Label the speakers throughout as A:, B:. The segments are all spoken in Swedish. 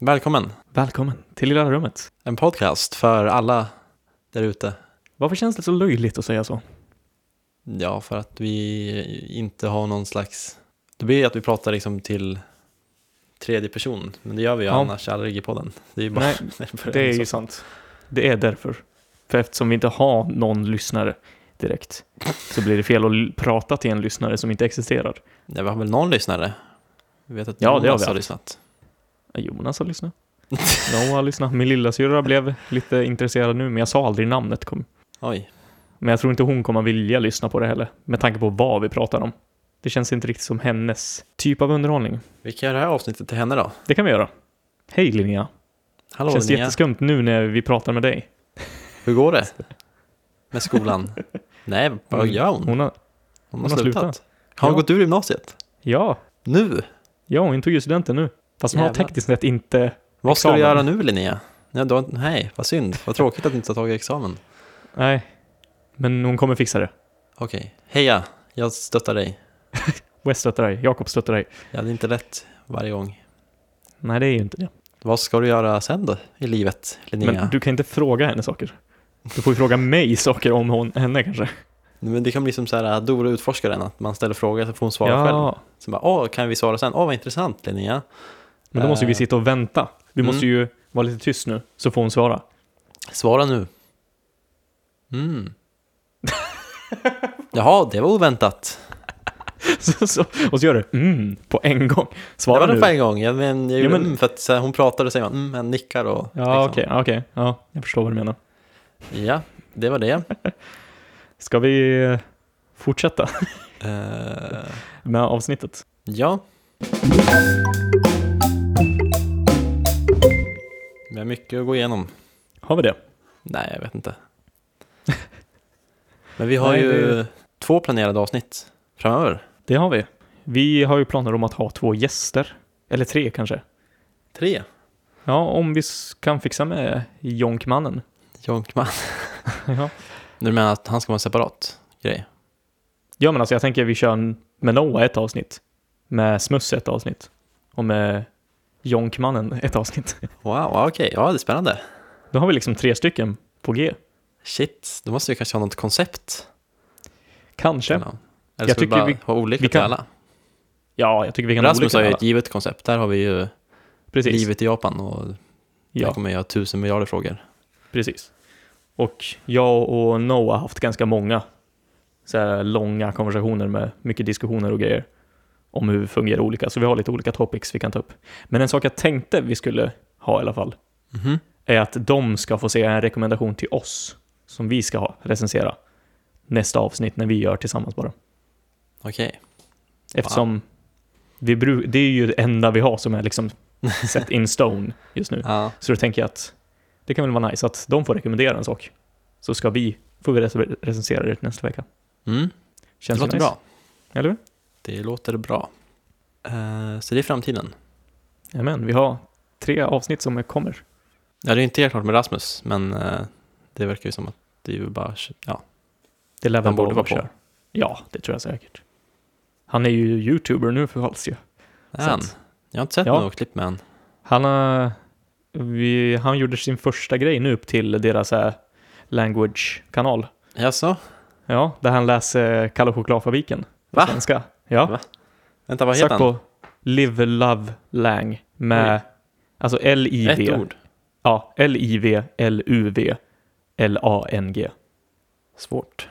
A: Välkommen!
B: Välkommen till Lilla Rummet.
A: En podcast för alla där ute.
B: Varför känns det så löjligt att säga så?
A: Ja, för att vi inte har någon slags... Det blir att vi pratar liksom till tredje person, men det gör vi ju
B: Ja.
A: annars aldrig i podden. Det är ju bara...
B: Nej,
A: börjar
B: Det är
A: så.
B: ju sant. Alltså, Det är därför. För eftersom vi inte har någon lyssnare direkt så blir det fel att l- prata till en lyssnare som inte existerar.
A: Nej, vi har väl någon lyssnare? Vi vet att
B: Ja, det har vi
A: Jonas har
B: haft.
A: lyssnat.
B: Ja, Jonas har lyssnat. Noah har lyssnat. Min lillasyrra blev lite intresserad nu, men jag sa aldrig namnet. Kom.
A: Oj.
B: Men jag tror inte hon kommer vilja lyssna på det heller, med tanke på vad vi pratar om. Det känns inte riktigt som hennes typ av underhållning.
A: Vi kan göra det här avsnittet till henne då.
B: Det kan vi göra. Hej Linnea!
A: Hallå
B: Känns det
A: Linnea,
B: jätteskumt nu när vi pratar med dig?
A: hur går det? Med skolan? Nej, vad
B: Mm.
A: gör hon?
B: Hon har...
A: Hon har
B: hon har
A: slutat.
B: slutat.
A: Har hon
B: Ja.
A: gått ur gymnasiet?
B: Ja,
A: Nu?
B: Ja, hon tog ju studenten nu. Fast hon har
A: Jävlar.
B: tekniskt sett inte...
A: Vad ska du
B: Examen.
A: göra nu Linnea? Nej, du har, nej, vad synd. Vad tråkigt att du inte har tagit examen.
B: Nej. Men hon kommer fixa det.
A: Okej, heja, jag stöttar dig.
B: West stöttar dig, Jakob stöttar dig.
A: Jag hade inte lätt varje gång.
B: Nej, det är ju inte det.
A: Vad ska du göra sen då i livet, Linnea?
B: Men du kan inte fråga henne saker. Du får ju fråga mig saker om hon, henne kanske.
A: Men det kan bli som så här, äh, Dora utforskaren, att man ställer frågor så får hon svara själv. Så bara, åh, kan vi svara sen? Åh, vad intressant Linnea.
B: Men då måste vi
A: Eh.
B: sitta och vänta. Du
A: Mm.
B: måste ju vara lite tyst nu, så får hon svara.
A: Svara nu. Mm. Jaha, det var oväntat.
B: Så, så, och så gör du mm på en gång.
A: det var
B: Svara
A: det på
B: nu.
A: en gång. Jag, men, jag
B: Ja,
A: gjorde
B: men-
A: mm, för att så här, hon pratar och säger man, mm, men nickar och
B: Ja,
A: liksom.
B: okej, ja, okej. Ja, jag förstår vad du menar.
A: Ja, det var det.
B: Ska vi eh, fortsätta
A: Eh,
B: med avsnittet?
A: Ja. Vi har mycket att gå igenom.
B: Har vi det?
A: Nej, jag vet inte. Men vi har
B: Nej,
A: ju
B: det-
A: två planerade avsnitt framöver.
B: Det har vi. Vi har ju planer om att ha två gäster. Eller tre kanske.
A: Tre.
B: Ja, om vi s- kan fixa med Jonkmannen.
A: Jonkman.
B: Ja.
A: Du menar att han ska vara en separat grej?
B: ja, men alltså jag tänker vi kör en- med Noah ett avsnitt. Med Smuss ett avsnitt. Och med Jonkmannen ett avsnitt.
A: Wow, okej. Ja, det är spännande.
B: Då har vi liksom tre stycken på G.
A: Shit, då måste vi kanske ha något koncept.
B: Kanske.
A: Eller ska
B: Jag
A: vi
B: tycker
A: bara
B: vi-
A: ha olika
B: vi
A: till
B: kan-
A: alla?
B: Ja, jag tycker vi kan ha
A: Rasmus
B: olika.
A: har ju
B: alla.
A: ett givet koncept. Där har vi ju
B: Precis.
A: livet i Japan och där
B: Ja,
A: kommer jag ha tusen miljarder frågor.
B: precis. Och jag och Noah har haft ganska många så här långa konversationer med mycket diskussioner och grejer om hur vi fungerar olika. Så vi har lite olika topics vi kan ta upp. Men en sak jag tänkte vi skulle ha i alla fall
A: Mhm.
B: är att de ska få se en rekommendation till oss som vi ska ha, recensera nästa avsnitt när vi gör tillsammans bara.
A: Okej.
B: Eftersom vi bru- det är ju det enda vi har som är liksom set in stone just nu.
A: Ja.
B: Så då tänker jag att det kan väl vara nice att de får rekommendera en sak. Så ska vi, får vi rec- recensera det nästa vecka.
A: Mm.
B: Känns
A: det låter
B: nice?
A: bra.
B: Eller hur?
A: Det låter bra. Eh, så det är framtiden.
B: Jajamän, vi har tre avsnitt som kommer.
A: Ja, det är inte helt klart med Rasmus, men eh, det verkar ju som att det är ju bara, ja,
B: Det lär väl
A: han borde
B: vara
A: vara på.
B: kör. Ja, det tror jag säkert. Han är ju youtuber nu för alls ju.
A: Är han?
B: Så att
A: Jag har inte sett
B: Ja.
A: något klipp med han.
B: Han, har- vi, han gjorde sin första grej nu upp till deras eh, language-kanal.
A: Jaså?
B: Ja, där han läser Kalle Chokladfabriken på
A: Va?
B: svenska. Ja.
A: Va? Vänta, Ah! vad
B: Sök
A: heter han?
B: på Live Love Lang med, alltså
A: Ett
B: L-I-V.
A: ord.
B: Ja, L-I-V, L-U-V, L-A-N-G.
A: Svårt.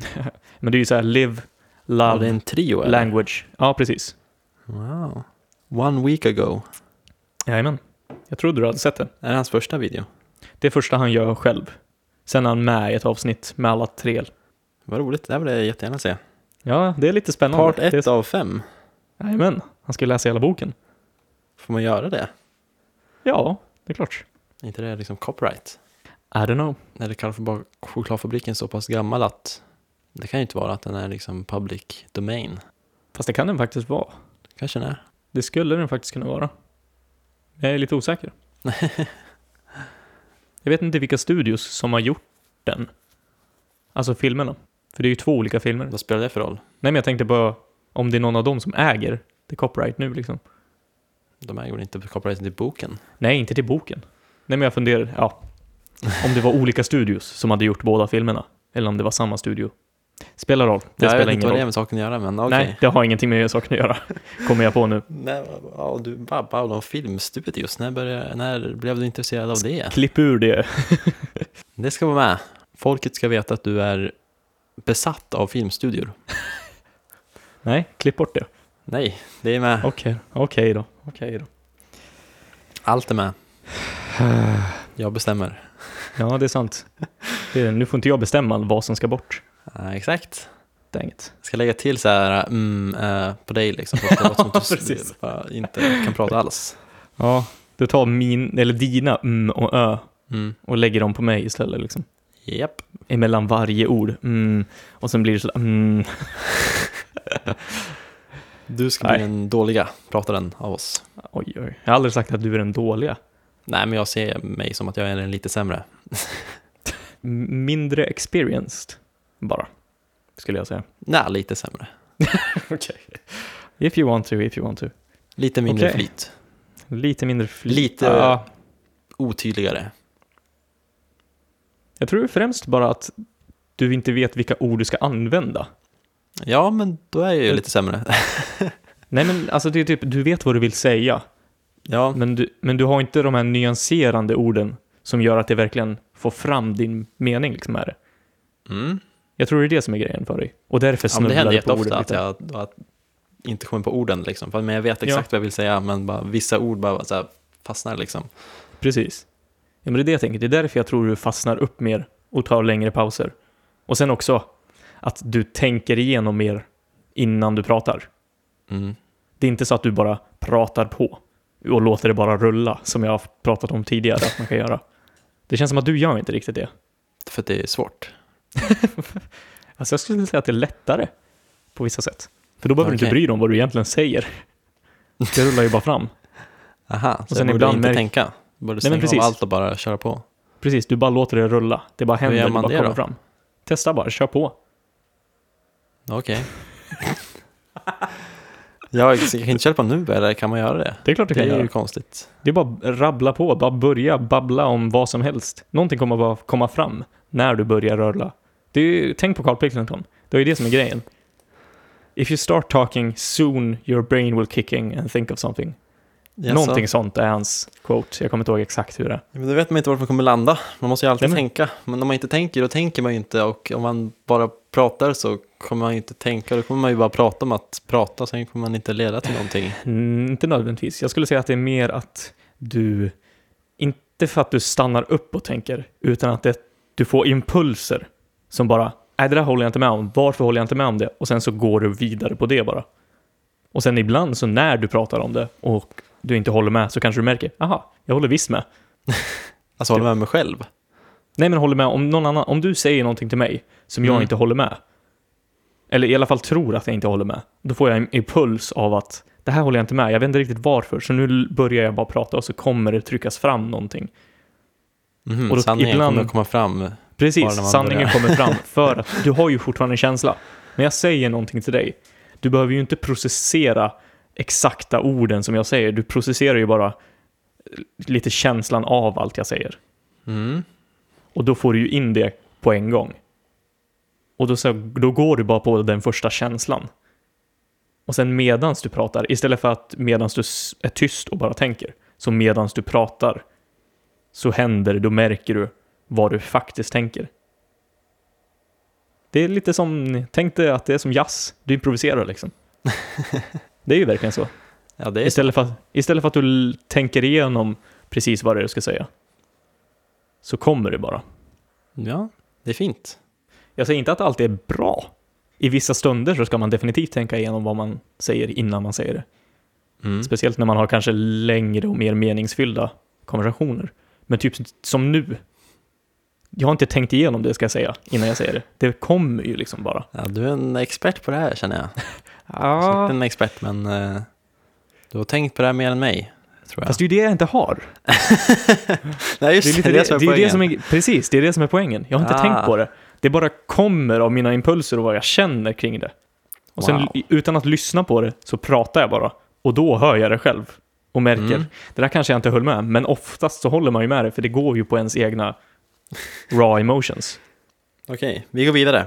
B: Men det är ju så här Live
A: Ja, det är
B: Love
A: en trio eller?
B: Language. Ja, precis.
A: Wow. One week ago.
B: Jajamän. Jag trodde du hade sett det.
A: Är det hans första video?
B: Det är första han gör själv. Sen är han med i ett avsnitt med alla tre.
A: Vad roligt, det här vill jag jättegärna se.
B: Ja, det är lite spännande.
A: Part
B: Det är
A: 1 av 5.
B: Jajamän, han ska läsa hela boken.
A: Får man göra det?
B: Ja, det är klart.
A: Är inte det liksom copyright?
B: I don't know.
A: Eller kallar för bara chokladfabriken så pass gammal att det kan ju inte vara att den är liksom public domain.
B: Fast det kan den faktiskt vara.
A: Kanske den är.
B: Det skulle den faktiskt kunna vara. Jag är lite osäker. jag vet inte vilka studios som har gjort den. Alltså filmerna. För det är ju två olika filmer. Nej,
A: Vad spelar det för roll?
B: men jag tänkte bara om det är någon av dem som äger det copyright nu liksom.
A: De äger väl inte copyrighten till boken?
B: Nej, inte till boken. Nej, men jag funderar, ja. Om det var olika studios som hade gjort båda filmerna. Eller om det var samma studio. Spelar roll. Det
A: jag vet inte
B: spelar ingen
A: vad det
B: roll.
A: är med saken att göra, men okej.
B: Nej, det har ingenting med saken att göra. Kommer jag på nu.
A: Nej, vad- ja, och du babblar om filmstudios. När, började, när blev du intresserad av det?
B: Klipp ur det.
A: Det ska vara med. Folket ska veta att du är besatt av filmstudior.
B: Nej, klipp bort det.
A: Nej, det är med.
B: Okej, okej då. Okej då.
A: Allt är med. Jag bestämmer.
B: Ja, det är sant. Det är, nu får inte jag bestämma vad som ska bort.
A: Ja, exakt.
B: Dang it.
A: Jag ska lägga till så här mm, eh, på dig liksom. För att det är något som du
B: Precis.
A: bara inte kan prata alls.
B: Ja, du tar min, eller dina mm och ö
A: Mm.
B: och lägger dem på mig istället. Liksom.
A: Japp.
B: Emellan varje ord. Mm. Och sen blir det så mm.
A: Du ska
B: Nej.
A: bli den dåliga prataren av oss.
B: Oj, oj. Jag har aldrig sagt att du är den dåliga.
A: Nej, men jag ser mig som att jag är en lite sämre.
B: M- Mindre experienced, bara. Skulle jag säga.
A: Nej, lite sämre.
B: Okej. If you want to, if you want to.
A: Lite mindre
B: Okej.
A: flyt.
B: Lite mindre flit.
A: Lite-
B: Ja,
A: Otydligare.
B: jag tror främst bara att du inte vet vilka ord du ska använda.
A: Ja, men då är jag ju lite sämre.
B: Nej men alltså det är typ, du vet vad du vill säga.
A: Ja,
B: Men du, men du har inte de här nyanserande orden som gör att det verkligen får fram din mening liksom med det.
A: mm.
B: Jag tror det är det som är grejen för dig. Och därför
A: ja men det händer
B: snubblar du på liksom. orden
A: jätteofta att
B: lite.
A: jag att inte kommer på orden. Liksom. För- Men jag vet exakt vad jag vill säga, men bara, vissa ord bara så här, fastnar. Liksom.
B: Precis. Ja, men det är det jag tänker. Det är därför jag tror du fastnar upp mer och tar längre pauser. Och sen också att du tänker igenom mer innan du pratar.
A: Mm.
B: Det är inte så att du bara pratar på och låter det bara rulla, som jag har pratat om tidigare att man kan göra. Det känns som att du gör inte riktigt det.
A: För att det är svårt.
B: Alltså jag skulle säga att det är lättare på vissa sätt. För då behöver du inte
A: Okej.
B: bry dig om vad du egentligen säger. Det rullar ju bara fram.
A: Aha, så
B: sen
A: jag borde
B: ibland
A: inte
B: märk-
A: tänka. Jag borde
B: Nej, men
A: stänga av
B: precis.
A: allt och bara köra på.
B: Precis, du bara låter det rulla. Det bara händer,
A: gör
B: det
A: man
B: bara
A: det
B: kommer
A: då?
B: fram. Testa bara, kör på.
A: Okej. jag kan inte köra på nu, eller kan man göra det?
B: Det är klart du
A: Det
B: kan
A: är
B: göra.
A: ju konstigt.
B: Det är bara att rabbla på, bara börja babbla om vad som helst. Någonting kommer bara komma fram när du börjar rulla. Det är ju, tänk på Carl Pilkington, det är ju det som är grejen. If you start talking soon your brain will kicking and think of something.
A: Jaså?
B: Någonting sånt är hans quote, jag kommer inte ihåg exakt hur det är.
A: Ja, Men då vet man inte vart man kommer landa. Man måste ju alltid
B: Nej, men-
A: tänka. Men om man inte tänker, då tänker man ju inte. Och om man bara pratar så kommer man inte tänka. Då kommer man ju bara prata om att prata. Sen kommer man inte leda till någonting.
B: Mm, inte nödvändigtvis, jag skulle säga att det är mer att du, inte för att du stannar upp och tänker, utan att det, du får impulser som bara, nej det där håller jag inte med om, varför håller jag inte med om det? Och sen så går du vidare på det bara. Och sen ibland så när du pratar om det och du inte håller med så kanske du märker, aha, jag håller visst med.
A: Alltså hålla med mig själv.
B: Nej men håller med, om någon annan, om du säger någonting till mig som jag
A: Mm.
B: inte håller med, eller i alla fall tror att jag inte håller med, då får jag en impuls av att det här håller jag inte med, jag vet inte riktigt varför, så nu l- börjar jag bara prata och så kommer det tryckas fram någonting.
A: Mhm,
B: Och då
A: sanningen
B: ibland-
A: kommer att komma fram. Bara
B: Precis,
A: när man
B: sanningen
A: börjar.
B: kommer fram, för att du har ju fortfarande en känsla. När jag säger någonting till dig, du behöver ju inte processera exakta orden som jag säger, du processerar ju bara eh, lite känslan av allt jag säger.
A: Mm.
B: Och då får du ju in det på en gång. Och då, så, då går du bara på den första känslan. Och sen medans du pratar, istället för att medans du s- är tyst och bara tänker, så medans du pratar så händer det, då märker du vad du faktiskt tänker. Det är lite som, tänk dig att det är som jazz, du improviserar liksom. Det är ju verkligen så.
A: Ja, det är
B: Istället för, att, istället för att du l- tänker igenom precis vad det är du ska säga, så kommer det bara.
A: Ja, det är fint.
B: Jag säger inte att allt är bra. I vissa stunder så ska man definitivt tänka igenom vad man säger innan man säger det.
A: Mm.
B: Speciellt när man har kanske längre och mer meningsfyllda konversationer. Men typ som nu. Jag har inte tänkt igenom det ska jag säga innan jag säger det. Det kommer ju liksom bara.
A: Ja, du är en expert på det här känner jag. Kanske inte en expert, men eh, du har tänkt på det här mer än mig. Tror jag.
B: Fast det är ju det jag inte har.
A: Nej, just
B: Det är, lite det, det, är ju det som är, precis, det är det som är poängen. Jag har inte
A: Ah.
B: tänkt på det. Det bara kommer av mina impulser och vad jag känner kring det. Och sen
A: Wow.
B: utan att lyssna på det så pratar jag bara. Och då hör jag det själv. och märker,
A: Mm.
B: det där kanske jag inte höll med, men oftast så håller man ju med det, för det går ju på ens egna raw emotions.
A: Okej, vi går vidare.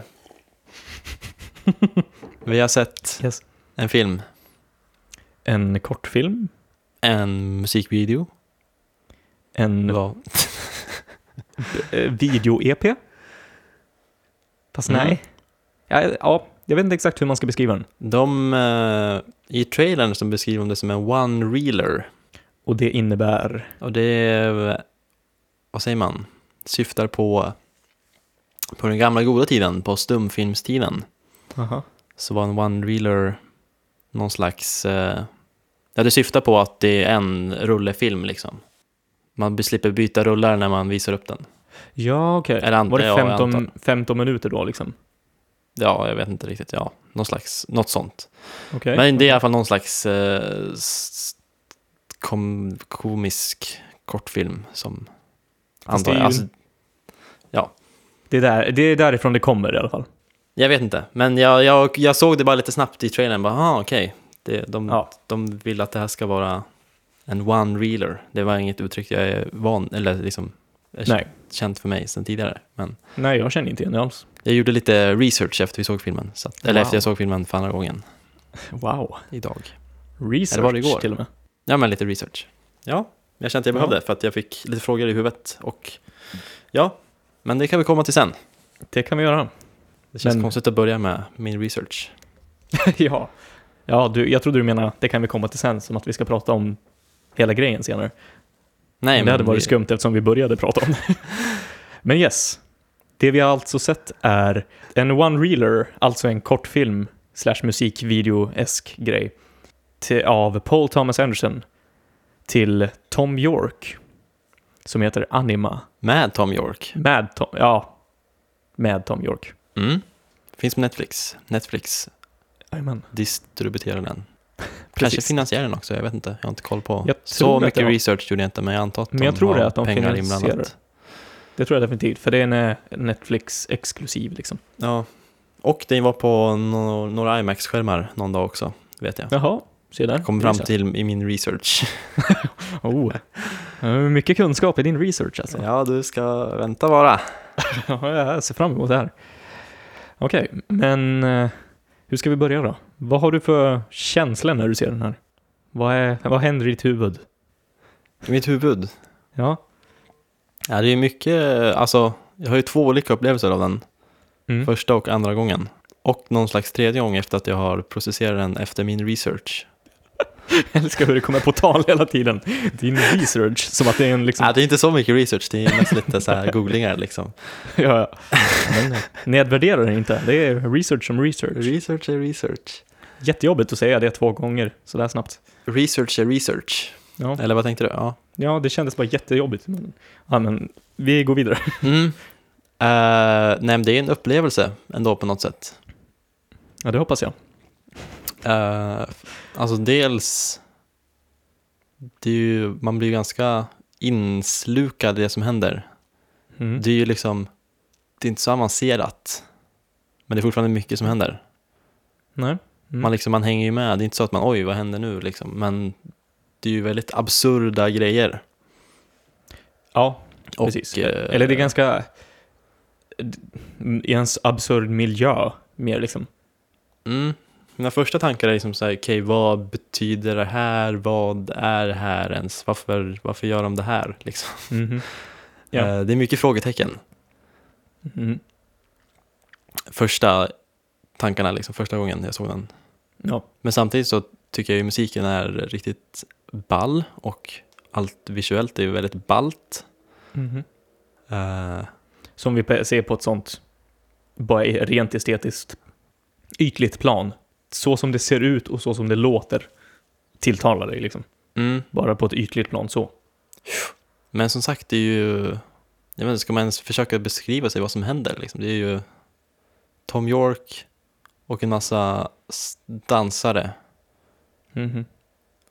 A: vi har sett
B: Yes.
A: en film,
B: En kortfilm,
A: en musikvideo.
B: en
A: Vad-
B: eh, video-EP. Fast
A: Mm.
B: nej. Ja, ja, jag vet inte exakt hur man ska beskriva den.
A: De, eh, I trailern så beskriver de det som en one-reeler.
B: Och det innebär...
A: Och det, är- vad säger man, syftar på, på den gamla goda tiden, på stumfilmstiden. så var en one-reeler någon slags... Eh, ja, det syftar på att det är en rullefilm liksom. Man be- slipper byta rullar när man visar upp den.
B: Ja, okej.
A: Eller antar
B: Var det
A: jag, jag
B: 15,
A: antar.
B: 15 minuter då liksom?
A: Ja, jag vet inte riktigt. Ja, någon slags, något sånt.
B: Okej.
A: Men det är i alla fall någon slags eh, s- kom, komisk kortfilm som...
B: Fast
A: Antar
B: det är
A: jag.
B: ju-
A: Alltså,
B: Det, är där, det är därifrån det kommer i alla fall.
A: jag vet inte, men jag, jag, jag såg det bara lite snabbt i trailern. Bara, aha, okej. Det- De,
B: Ja.
A: de vill att det här ska vara en one-reeler. Det var inget uttryck jag är van, eller liksom är
B: Nej.
A: känt för mig sedan tidigare. Men
B: Nej, jag känner inte igen det alls.
A: jag gjorde lite research efter vi såg filmen. Så att, Eller
B: Wow.
A: efter jag såg filmen för andra gången
B: Wow.
A: idag.
B: Research
A: Eller var det igår?
B: till och med.
A: Ja, men lite research. Ja, jag kände att jag
B: Ja.
A: behövde för att jag fick lite frågor i huvudet. Och ja, men det kan vi komma till sen.
B: Det kan vi göra.
A: Det känns
B: Men-
A: konstigt att börja med min research.
B: ja. Ja, du, jag trodde du menade det kan vi komma till sen, som att vi ska prata om hela grejen senare.
A: Nej,
B: det hade
A: men
B: varit
A: vi-
B: skumt eftersom vi började prata om det. Men yes, det vi har alltså sett är en one-reeler, alltså en kortfilm slash musikvideo-esk grej till, av Paul Thomas Anderson till Tom York som heter Anima.
A: Med Tom York.
B: Med Tom, ja, med Tom York.
A: Mm. Finns på Netflix. Netflix
B: Jajamän.
A: distribuerar den. Kanske
B: Precis.
A: finansierar den också, jag vet inte. Jag har inte koll på.
B: Jag tror
A: Så
B: att det
A: mycket
B: var-
A: research gjorde jag inte, men jag antar att
B: Men
A: de
B: jag tror
A: har
B: det, att de
A: pengar
B: finansierar
A: inblandat.
B: Det tror jag definitivt, för det är en eh, Netflix-exklusiv liksom.
A: Ja. Och den var på no några IMAX-skärmar någon dag också, vet jag.
B: Jaha, se där.
A: Jag kom
B: Det
A: fram
B: visar.
A: till i min research.
B: Oh. Eh, Mycket kunskap i din research alltså.
A: Ja, du ska vänta bara.
B: Ja, jag ser fram emot det här. Okej, men eh, hur ska vi börja då? Vad har du för känsla när du ser den här? Vad, är, vad händer i ditt huvud?
A: I mitt huvud.
B: Ja,
A: Ja, det är mycket, alltså, jag har ju två olika upplevelser av den.
B: mm.
A: Första och andra gången. Och någon slags tredje gång efter att jag har processerat den efter min research.
B: jag älskar hur det kommer på tal hela tiden. Din research, som att det är en liksom...
A: Ja, det är inte så mycket research, det är mest lite så här googlingar liksom.
B: Ja, ja. Men, eh, nedvärdera den inte, det är research som research.
A: Research är research.
B: Jättejobbigt att säga det två gånger sådär snabbt.
A: Research är research.
B: Ja,
A: Eller vad tänkte du? Ja.
B: ja det kändes bara jättejobbigt. Men, ja, men vi går vidare.
A: Mm. Eh, nej, men det är en upplevelse ändå på något sätt.
B: Ja, det hoppas jag.
A: Eh, alltså dels, det är ju, man blir ju ganska inslukad i det som händer.
B: Mm.
A: Det är ju liksom, det är inte så avancerat. Men det är fortfarande mycket som händer.
B: Nej. Mm.
A: Man, liksom, man hänger ju med, det är inte så att man oj, vad händer nu liksom. Men det är ju väldigt absurda grejer.
B: Ja,
A: Och,
B: Precis.
A: eh,
B: Eller det är ganska i ens absurd miljö mer liksom.
A: Mm. Mina första tankar är liksom så här, okej, vad betyder det här? Vad är det här ens? Varför, varför gör de det här? Liksom.
B: Ja.
A: Eh, Det är mycket frågetecken.
B: Mhm.
A: Första tankarna, liksom, första gången jag såg den.
B: Ja.
A: Men samtidigt så tycker jag ju musiken är riktigt ball och allt visuellt är ju väldigt ballt. mhm. Eh,
B: Som vi pe- ser på ett sånt bara i- rent estetiskt ytligt plan. Så som det ser ut och så som det låter tilltalar dig liksom.
A: Mm.
B: Bara på ett ytligt plan så.
A: Men som sagt, det är ju... Jag vet inte, ska man ens försöka beskriva sig vad som händer? Liksom? Det är ju Tom York och en massa s- dansare.
B: Mhm.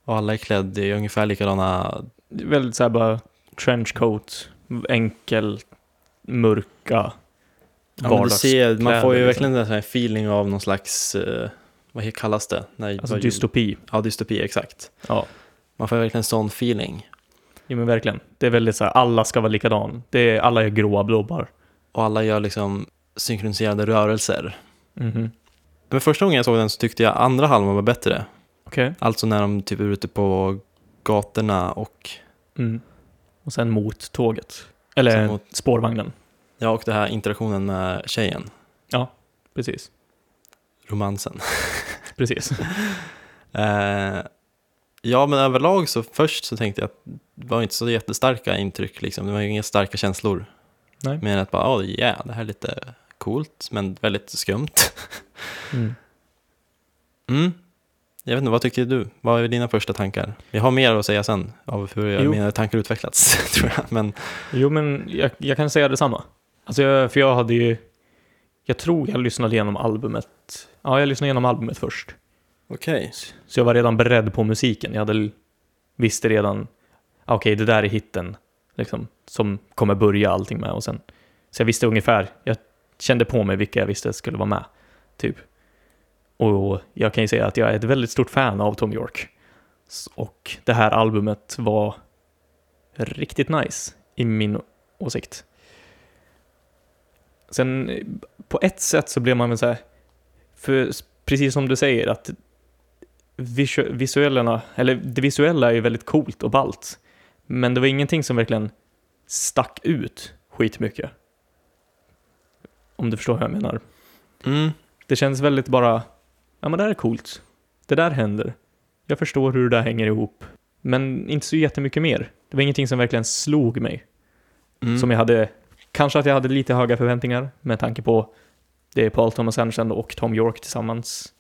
A: Och alla är klädda i ungefär likadana...
B: Det är Väldigt såhär bara trenchcoat, enkel, mörka
A: Ja, du
B: vardags...
A: ser, man får ju
B: liksom.
A: verkligen en sån här feeling av någon slags... eh, vad he- kallas det? Nej,
B: alltså
A: vad-
B: dystopi.
A: Ja, dystopi, exakt.
B: Ja.
A: Man får verkligen en sån feeling.
B: Jo men verkligen. Det är väldigt så här, alla ska vara likadan. Det är, alla är gråa blobbar.
A: Och alla gör liksom synkroniserade rörelser.
B: Mhm.
A: Men första gången jag såg den så tyckte jag andra halvan var bättre.
B: Okej.
A: Alltså när de typ är ute på gatorna och,
B: Mm. Och sen mot tåget. Eller
A: Sen mot-
B: spårvagnen.
A: ja, och det här interaktionen med tjejen,
B: Precis.
A: romansen.
B: Precis.
A: Eh, ja, men överlag så först så tänkte jag att det var inte så jättestarka intryck. Liksom. Det var ju inga starka känslor.
B: Nej.
A: Men att bara, oh yeah, det här är lite coolt, men väldigt skumt.
B: Mm.
A: Mm. Jag vet inte, vad tyckte du? Vad är dina första tankar? Jag har mer att säga sen av hur jag,
B: Jo.
A: mina tankar utvecklats, tror jag. Men
B: Jo, men jag, jag kan säga detsamma. Alltså, jag, för jag hade ju... Jag tror jag lyssnade igenom albumet. Ja, jag lyssnade igenom albumet först.
A: okej.
B: Så jag var redan beredd på musiken. Jag hade l- visste redan, ah, okej, det där är hitten liksom, som kommer börja allting med. Och sen, så jag visste ungefär, jag kände på mig vilka jag visste skulle vara med. Typ. Och jag kan ju säga att jag är ett väldigt stort fan av Tom York. S- Och det här albumet var riktigt nice i min å- åsikt. Sen eh, på ett sätt så blev man väl så här, för s- precis som du säger att visu- visuellerna, eller det visuella är ju väldigt coolt och ballt. Men det var ingenting som verkligen stack ut skitmycket. Om du förstår hur jag menar.
A: Mm.
B: Det känns väldigt bara, ja men det här är coolt. Det där händer. Jag förstår hur det där hänger ihop. Men inte så jättemycket mer. Det var ingenting som verkligen slog mig.
A: Mm.
B: Som jag hade, kanske att jag hade lite höga förväntningar med tanke på det är Paul Thomas Anderson och Tom York tillsammans.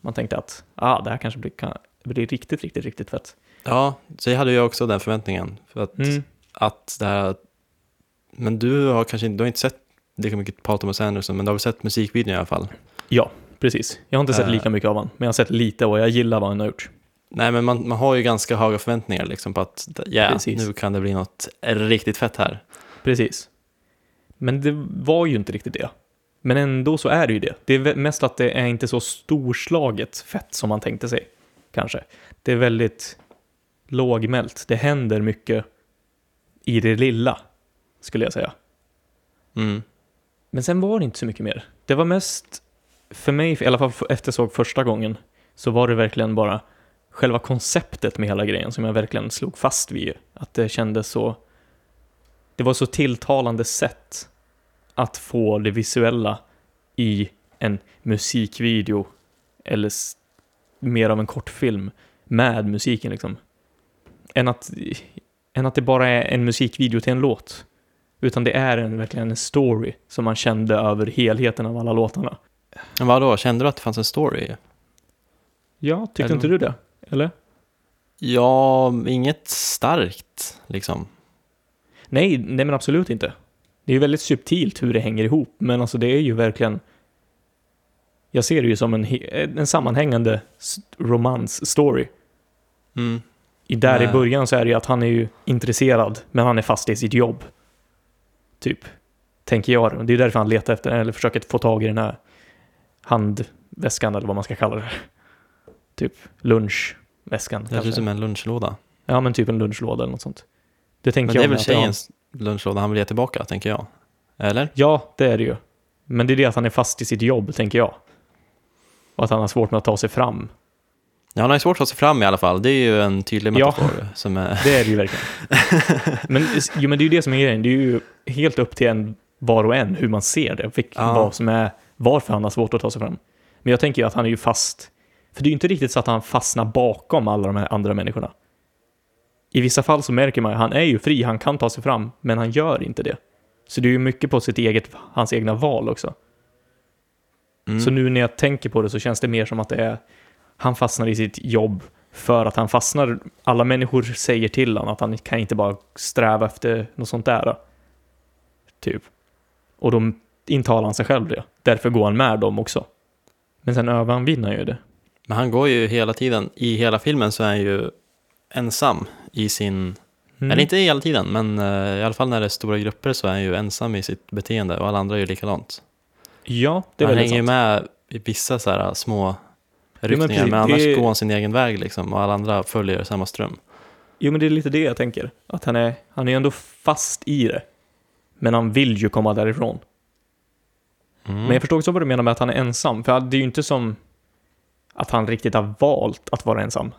B: Man tänkte att, ah, det här kanske blir, kan, blir riktigt, riktigt, riktigt fett.
A: Ja, så jag hade ju också den förväntningen. För att,
B: Mm.
A: att det här, men du har kanske inte- du har inte sett lika mycket Paul Thomas Anderson, men du har väl sett musikvideon i alla fall?
B: Precis. Jag har inte sett
A: Eh.
B: lika mycket av honom, men jag har sett lite och jag gillar vad han har gjort.
A: Nej, men man, man har ju ganska höga förväntningar liksom, på att ja,
B: Precis.
A: nu kan det bli något riktigt fett här.
B: Precis. Men det var ju inte riktigt det. Men ändå så är det ju det. Det är vä- mest att det är inte så storslaget fett som man tänkte sig, kanske. Det är väldigt lågmält. Det händer mycket i det lilla, skulle jag säga.
A: Mm.
B: Men sen var det inte så mycket mer. Det var mest, för mig, i alla fall efter jag såg första gången, så var det verkligen bara själva konceptet med hela grejen som jag verkligen slog fast vid. Att det kändes så, det var så tilltalande sätt att få det visuella i en musikvideo eller s- mer av en kortfilm med musiken liksom. Än att, än att det bara är en musikvideo till en låt. Utan det är en, verkligen en story som man kände över helheten av alla låtarna.
A: Men vadå, kände du att det fanns en story?
B: Ja, tyckte
A: Eller-
B: inte du det? Eller?
A: Ja, inget starkt liksom.
B: Nej, nej men absolut inte. Det är ju väldigt subtilt hur det hänger ihop, men alltså det är ju verkligen... Jag ser det ju som en, he- en sammanhängande s- romance-story.
A: Mm.
B: I- Där
A: Nej.
B: i början så är det ju att han är ju intresserad, men han är fast i sitt jobb. Typ. Tänker jag. Det är därför han letar efter, eller försöker få tag i den här handväskan, eller vad man ska kalla det. Typ lunchväskan.
A: Det ser ut
B: kanske.
A: som en lunchlåda.
B: Ja, men typ en lunchlåda eller något sånt. Det tänker
A: Men
B: jag
A: det är
B: mig
A: väl
B: att det har-
A: tjejens lunchlåda han vill ge tillbaka, tänker jag. Eller?
B: Ja, det är det ju. Men det är det att han är fast i sitt jobb, tänker jag. Och att han har svårt med att ta sig fram.
A: Ja, han har ju svårt att ta sig fram i alla fall. Det är ju en tydlig
B: Ja.
A: metafor. Som är...
B: Det är det ju verkligen. men, jo, men det är ju det som är grejen. Det är ju helt upp till en, var och en hur man ser det. Vilk,
A: Ja.
B: vad som är, varför han har svårt att ta sig fram. Men jag tänker ju att han är ju fast. För det är ju inte riktigt så att han fastnar bakom alla de här andra människorna. I vissa fall så märker man ju, han är ju fri, han kan ta sig fram, men han gör inte det. Så det är ju mycket på sitt eget, hans egna val också.
A: Mm.
B: Så nu när jag tänker på det så känns det mer som att det är, han fastnar i sitt jobb för att han fastnar. Alla människor säger till honom att han kan inte bara sträva efter något sånt där. Typ. Och då intalar han sig själv det. Därför går han med dem också. Men sen övervinner han ju det.
A: Men han går ju hela tiden, i hela filmen så är han ju ensam i sin...
B: Mm.
A: Eller inte hela tiden, men eh, i alla fall när det är stora grupper så är han ju ensam i sitt beteende och alla andra är ju likadant.
B: Ja, det är
A: han
B: väldigt
A: hänger ju
B: sant.
A: med i vissa så här eh, små
B: men
A: ryckningar,
B: precis,
A: men, annars
B: det-
A: går han sin egen väg liksom och alla andra följer samma ström.
B: Jo, men det är lite det jag tänker. Att han är, han är ändå fast i det. Men han vill ju komma därifrån.
A: Mm.
B: Men jag förstår också vad du menar med att han är ensam. För det är ju inte som att han riktigt har valt att vara ensam.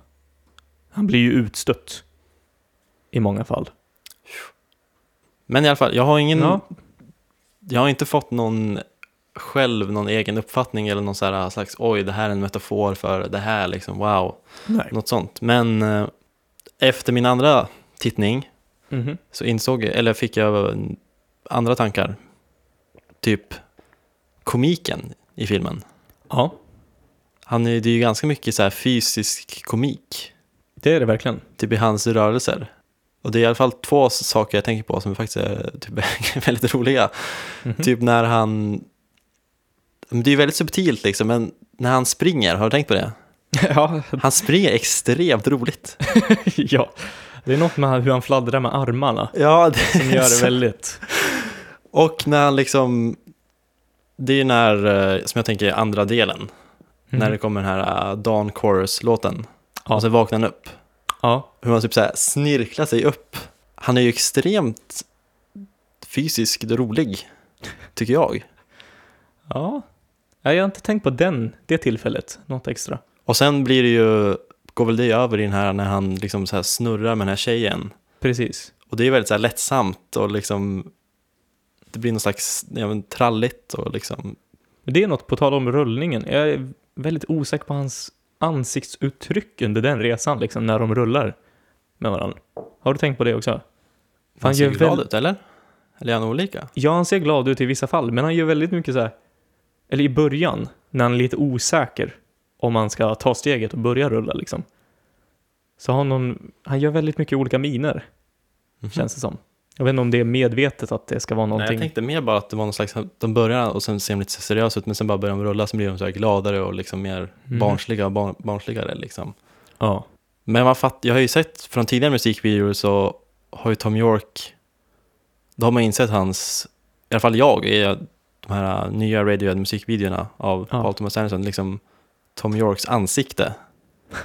B: Han blir ju utstött. I många fall.
A: Men i alla fall, jag har ingen...
B: Ja.
A: Jag har inte fått någon själv, någon egen uppfattning eller någon så här eh, slags oj, det här är en metafor för det här, liksom wow,
B: Nej.
A: något sånt. Men eh, efter min andra tittning
B: Mhm.
A: så insåg jag, eller fick jag eh, andra tankar. Typ komiken i filmen.
B: Ja,
A: Han är, det är ju ganska mycket så här fysisk komik,
B: det är det verkligen.
A: typ i hans rörelser. Och det är i alla fall två saker jag tänker på som faktiskt är typ, väldigt roliga.
B: Mhm.
A: Typ när han... Men Det är ju väldigt subtilt liksom, men när han springer, har du tänkt på det?
B: ja,
A: Han springer extremt roligt.
B: ja, det är något med hur han fladdrar med armarna
A: Ja,
B: som gör det väldigt...
A: Och när han liksom... Det är ju när, eh, som jag tänker, är andra delen. När det kommer den här uh, Dawn Chorus-låten.
B: Mhm. Ja.
A: Och så vaknar han upp.
B: Ja,
A: Hur han typ så här snirklar sig upp. Han är ju extremt fysiskt rolig, tycker jag.
B: ja. Ja, Jag har inte tänkt på den, det tillfället, något extra.
A: Och sen blir det ju, går väl det över i den här när han liksom så här snurrar med den här tjejen.
B: Precis.
A: Och det är väldigt så här lättsamt och liksom det blir någon slags ja, men, tralligt och liksom
B: Men Det är något, på tal om rullningen, jag är väldigt osäker på hans ansiktsuttryck under den resan, liksom när de rullar med varandra. Har du tänkt på det också?
A: han
B: gör
A: ser glad
B: väl-
A: ut eller? Eller är han olika?
B: Ja, han ser glad ut i vissa fall, men han gör väldigt mycket så här, eller i början, när han är lite osäker om han ska ta steget och börja rulla liksom. Så har han någon, han gör väldigt mycket olika miner,
A: Mhm.
B: känns det som. Jag vet inte om det är medvetet att det ska vara
A: Nej,
B: någonting.
A: jag tänkte mer bara att det var någon slags, de börjar och sen ser de lite seriösa ut men sen bara börjar de rulla så blir de så här gladare och liksom mer
B: Mm.
A: barnsliga och barn, barnsligare liksom.
B: Ja.
A: Men man fatt, jag har ju sett från tidigare musikvideor så har ju Tom York, då har man insett hans, i alla fall jag, i de här nya Radiohead musikvideorna av
B: Ja.
A: Paul Thomas Anderson, liksom Tom Yorks ansikte.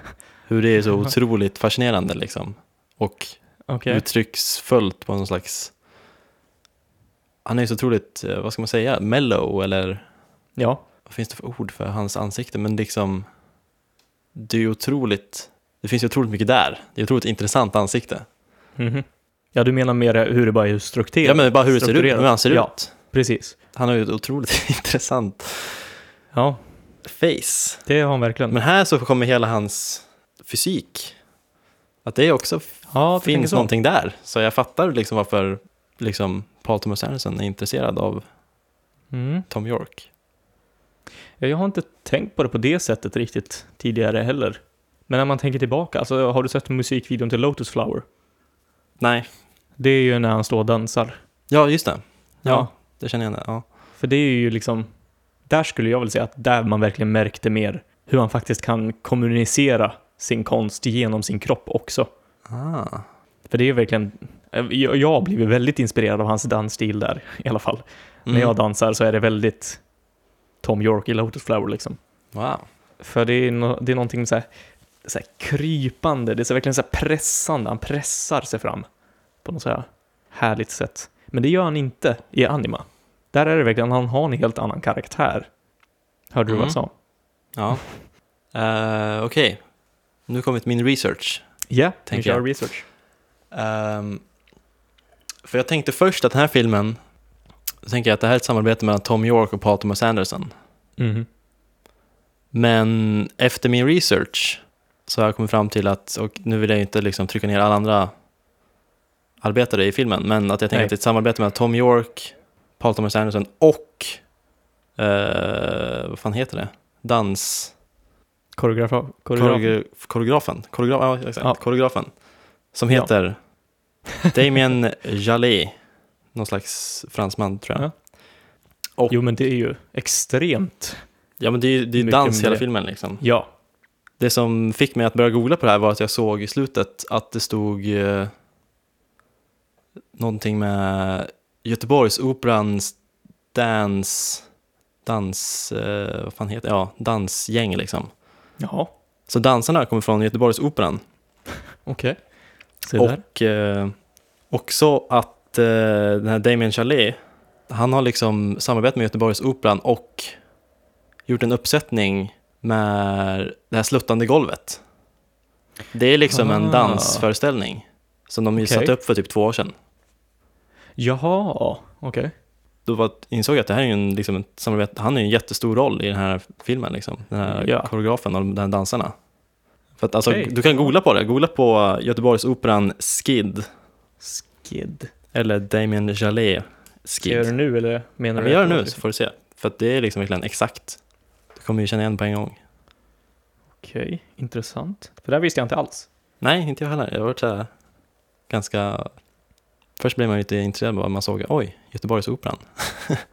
A: Hur det är så
B: Ja.
A: otroligt fascinerande liksom. Och
B: Okej.
A: uttrycksfullt på någon slags, han är ju så otroligt, eh, vad ska man säga, mellow eller
B: Ja.
A: vad finns det för ord för hans ansikte, men liksom det är ju otroligt, det finns ju otroligt mycket där. Det är ett otroligt intressant ansikte.
B: Mhm. Ja, du menar mer hur det bara är strukturerat?
A: Ja men bara hur det ser ut, hur han ser
B: Ja.
A: ut.
B: Precis.
A: Han har ju ett otroligt intressant
B: Ja,
A: face.
B: det har han verkligen.
A: Men här så kommer hela hans fysik. Att det också f-
B: ja, du tänker
A: finns
B: så.
A: någonting där. Så jag fattar liksom varför liksom Paul Thomas Anderson är intresserad av
B: Mm.
A: Tom York.
B: Ja, Jag har inte tänkt på det på det sättet riktigt tidigare heller. Men när man tänker tillbaka, alltså har du sett musikvideon till Lotus Flower?
A: Nej,
B: Det är ju när han står och dansar.
A: ja just det. Ja, det känner jag igen. Ja.
B: För det är ju liksom, där skulle jag väl säga att där man verkligen märkte mer hur han faktiskt kan kommunicera sin konst genom sin kropp också.
A: Ah.
B: För det är ju verkligen, jag jag har blivit väldigt inspirerad av hans dansstil där i alla fall.
A: Mm.
B: När jag dansar så är det väldigt Tom York i Lotus Flower liksom.
A: Wow.
B: För det är, no, det är någonting så här, så här krypande, det är så verkligen så här pressande, han pressar sig fram på något så här härligt sätt. Men det gör han inte i Anima. Där är det verkligen, han har en helt annan karaktär. Hörde du vad jag
A: Mm.
B: sa?
A: Ja. Eh, Okej, nu kommer min research.
B: Ja, vi
A: Tänker
B: kör
A: jag.
B: research.
A: Ehm, för jag tänkte först att den här filmen, då tänker jag att det här är ett samarbete mellan Tom York och Paul Thomas Anderson. Mm-hmm.
B: Mhm.
A: Men efter min research så har jag kommit fram till att, och nu vill jag ju inte liksom trycka ner alla andra arbetare i filmen, men att jag tänker
B: Nej.
A: att det är ett samarbete mellan Tom York, Paul Thomas Anderson och, eh, vad fan heter det, dans...
B: Koreografa, koreograf.
A: Koreografen. Koreografen. Koreograf, ja, exakt.
B: Ja.
A: Koreografen. Som
B: Ja.
A: heter Damien Jallet. Någon slags fransman tror jag.
B: Ja.
A: Ja, Och-
B: Jo, men det är ju extremt.
A: men det är ju det är ju
B: Mycket
A: dans
B: med
A: hela
B: det.
A: filmen liksom.
B: Ja.
A: Det som fick mig att börja googla på det här var att jag såg i slutet att det stod eh, någonting med Göteborgsoperans dans... Dans... Eh, vad fan heter det? Ja, dansgäng liksom.
B: Jaha,
A: Så dansarna kommer från Göteborgsoperan.
B: okej. Se där.
A: Och eh, också att eh, den här Damien Chalet, han har liksom samarbetat med Göteborgsoperan och gjort en uppsättning med det här sluttande golvet. Det är liksom en
B: Ah.
A: dansföreställning som de ju
B: Okej.
A: satte upp för typ två år sedan.
B: Jaha, okej.
A: Då var, insåg jag att det här är ju en, liksom, ett samarbete, han är ju en jättestor roll i den här filmen, liksom. den här
B: Ja.
A: koreografen och de här dansarna. För att, alltså,
B: Okej.
A: Du kan googla på det, googla på Göteborgsoperan Skid
B: Skid.
A: eller Damien Jallet
B: Ska jag
A: Skid.
B: göra det nu eller menar
A: Ja,
B: du?
A: men gör det nu
B: efteråt?
A: så får du se. För att det är liksom verkligen exakt. Du kommer ju känna igen på en gång.
B: Okej, intressant. För det här visste jag inte alls.
A: Nej, inte jag heller. Jag har varit så här ganska... Först blev man lite intresserad bara man såg, oj, Göteborgsoperan.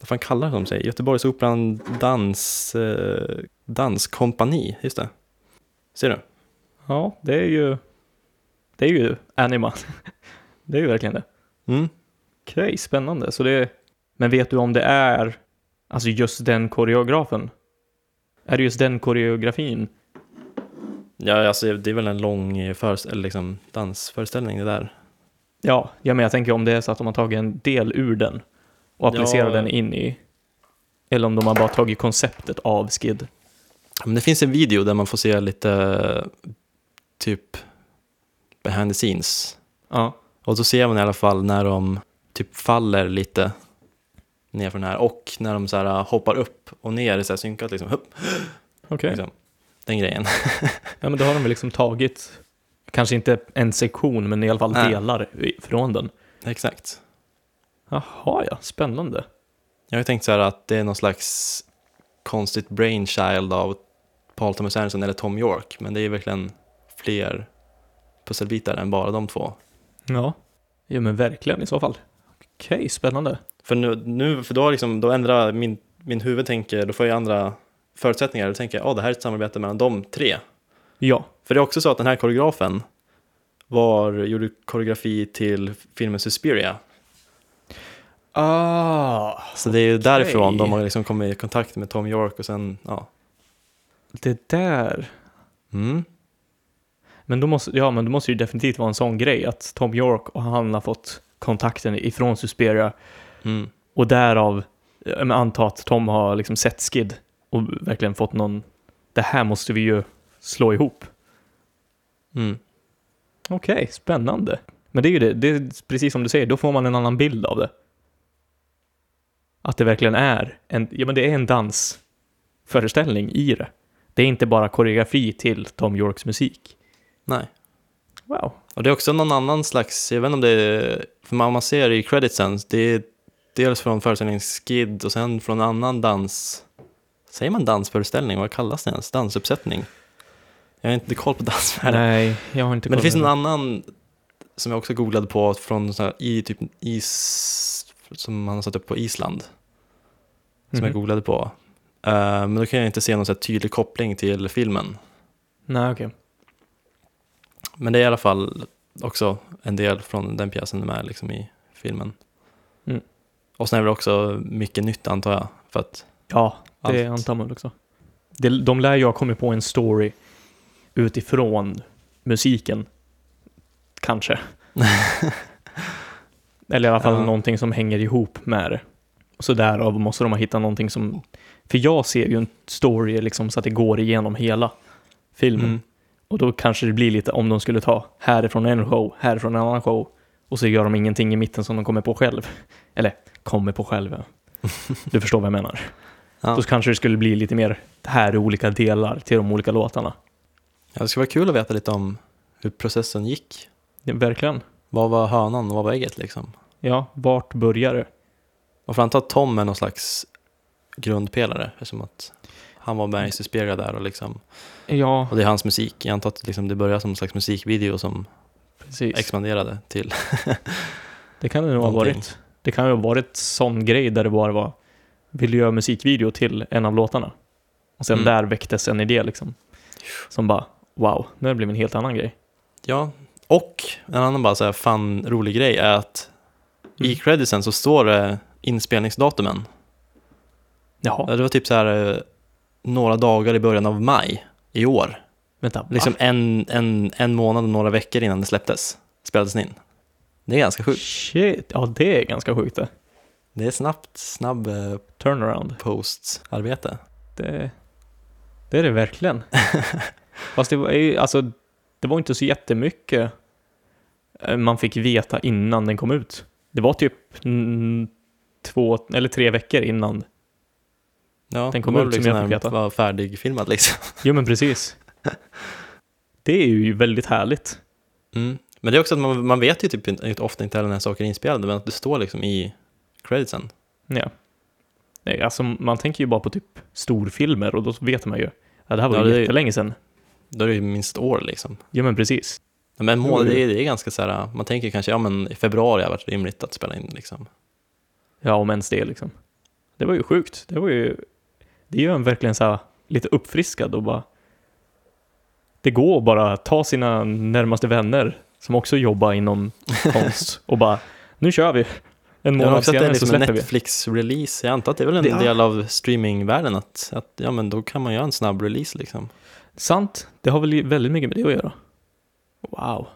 A: Vad fan kallar de sig? Göteborgsoperan dans, eh, danskompani, just det. Ser du?
B: Ja, det är ju... Det är ju anima. det är ju verkligen det.
A: Mm.
B: Okej, spännande. Så det... Men vet du om det är alltså just den koreografen? Är det just den koreografin?
A: Ja, alltså det är väl en lång eh, föres- eller liksom dansföreställning det där.
B: Ja, ja, men jag tänker om det är så att de har tagit en del ur den och applicerat
A: Ja.
B: den in i... Eller om de har bara tagit konceptet av Skid.
A: Men det finns en video där man får se lite eh, typ behind the scenes
B: Ja,
A: Och så ser man i alla fall när de typ faller lite ner från här och när de så här äh, hoppar upp och ner så här synkat liksom. Upp,
B: okej.
A: liksom. Den grejen.
B: Ja, men då har de väl liksom tagit, kanske inte en sektion, men i alla fall
A: Nej.
B: delar i- från den.
A: Exakt.
B: Jaha, ja, spännande.
A: Jag har ju tänkt så här att det är någon slags konstigt brainchild av Paul Thomas Anderson eller Tom York, men det är verkligen fler pusselbitar än bara de två.
B: Ja. Ja, men verkligen i så fall. Okej, spännande.
A: För nu, nu för då, har liksom, då ändrar min, min huvud tänker, då får jag andra förutsättningar. Då tänker jag, åh det här är ett samarbete mellan de tre.
B: Ja,
A: För det är också så att den här koreografen var, gjorde koreografi till filmen Suspiria.
B: ah,
A: Så det är ju därifrån de har liksom kommit i kontakt med Tom York och sen, ja.
B: det där.
A: Mm.
B: Men då måste, ja, men då måste det ju definitivt vara en sån grej att Tom York och han har fått kontakten ifrån Suspiria
A: Mm.
B: och därav, jag men anta att Tom har liksom sett Skid och verkligen fått någon, det här måste vi ju slå ihop.
A: Mm.
B: Okej, spännande. Men det är ju det, det är precis som du säger, då får man en annan bild av det. Att det verkligen är en, ja men det är en dansföreställning i det. Det är inte bara koreografi till Tom Yorks musik.
A: Nej.
B: Wow.
A: Och det är också någon annan slags, jag vet inte om det är, för man, man ser i creditsen, det är dels från föreställningen Skid och sen från en annan dans, säger man dansföreställning, vad kallas det ens? Dansuppsättning? Jag har inte koll på dansvärlden.
B: Nej, jag har inte
A: Men det finns en
B: kollat.
A: annan som jag också googlade på från så här, i typ is som man har satt upp på Island som jag
B: Mhm.
A: googlade på. Eh, men då kan jag inte se någon så här tydlig koppling till filmen.
B: Nej, okej.
A: Men det är i alla fall också en del från den pjäsen med liksom i filmen.
B: Mm.
A: Och sen är det också mycket nytt antar jag. För att,
B: Ja, det
A: Allt.
B: antar man också. Det, de lär ju ha kommit på en story utifrån musiken. Kanske. Eller i alla fall
A: Ja.
B: någonting som hänger ihop med det. Och så därav måste de ha hittat någonting som... För jag ser ju en story liksom så att det går igenom hela filmen.
A: Mm.
B: Och då kanske det blir lite om de skulle ta härifrån en show, härifrån en annan show och så gör de ingenting i mitten som de kommer på själv. Eller kommer på själv. ja. Du förstår vad jag menar.
A: Ja.
B: Då kanske det skulle bli lite mer, det här är olika delar till de olika låtarna.
A: ja, det skulle vara kul att veta lite om hur processen gick.
B: Ja, verkligen.
A: Vad var hönan och vad var ägget liksom?
B: Ja, vart börjar det?
A: Man får anta att Tom är någon slags grundpelare eftersom att han var med i Suspiria där och liksom
B: Ja,
A: och det är hans musik. Jag antar att liksom det började som en slags musikvideo som
B: precis.
A: expanderade till.
B: Det kan det nog ha
A: Någonting.
B: varit. Det kan ju ha varit sån grej där det bara var, vill du göra musikvideo till en av låtarna? Och sen
A: Mm.
B: där väcktes en idé liksom. Som bara, wow, nu blir det en helt annan grej.
A: Ja, och en annan bara så här fan rolig grej är att i
B: Mm.
A: creditsen så står det inspelningsdatumen.
B: Jaha.
A: eh, Det var typ så här eh, några dagar i början av maj i år.
B: Vänta, Ah,
A: Liksom en, en, en månad och några veckor innan det släpptes, spelades den in. Det är ganska
B: va?
A: sjukt.
B: Shit, ja det är ganska sjukt det.
A: Det är snabbt, snabb eh,
B: Turnaround.
A: posts-arbete.
B: Det, det är det verkligen. Fast det var ju, alltså, det var inte så jättemycket eh, man fick veta innan den kom ut. Det var typ mm, två eller tre veckor innan.
A: Ja,
B: Den kom
A: det var
B: ut som
A: liksom
B: jag fick
A: när
B: veta.
A: den Var färdigfilmad liksom.
B: Jo men precis. Det är ju väldigt härligt.
A: Mm. Men det är också att man, man vet ju typ inte, ofta inte heller när saker är inspelade, men att det står liksom i creditsen.
B: Ja. Nej, alltså, man tänker ju bara på typ storfilmer och då vet man ju. Ja, det här var
A: Ja,
B: ju
A: det är-
B: jättelänge sedan.
A: Då är det ju minst år liksom.
B: Jo men precis.
A: Ja, Men mål,
B: Jo, jo.
A: det, är, det är ganska så här, man tänker kanske, ja men i februari har varit rimligt att spela in liksom.
B: Ja, om ens det liksom. Det var ju sjukt. Det var ju... Det gör en verkligen så här lite uppfriskad och bara... Det går att bara ta sina närmaste vänner som också jobbar inom konst och bara nu kör vi. En
A: Jag
B: månad
A: också att det
B: senare
A: är
B: så
A: liksom en
B: släpper vi.
A: Netflix-release, jag antar att det är väl en
B: Det- ja.
A: del av streamingvärlden att, att, ja men då kan man göra en snabb release liksom.
B: Sant. Det har väl väldigt mycket med det att göra. Wow.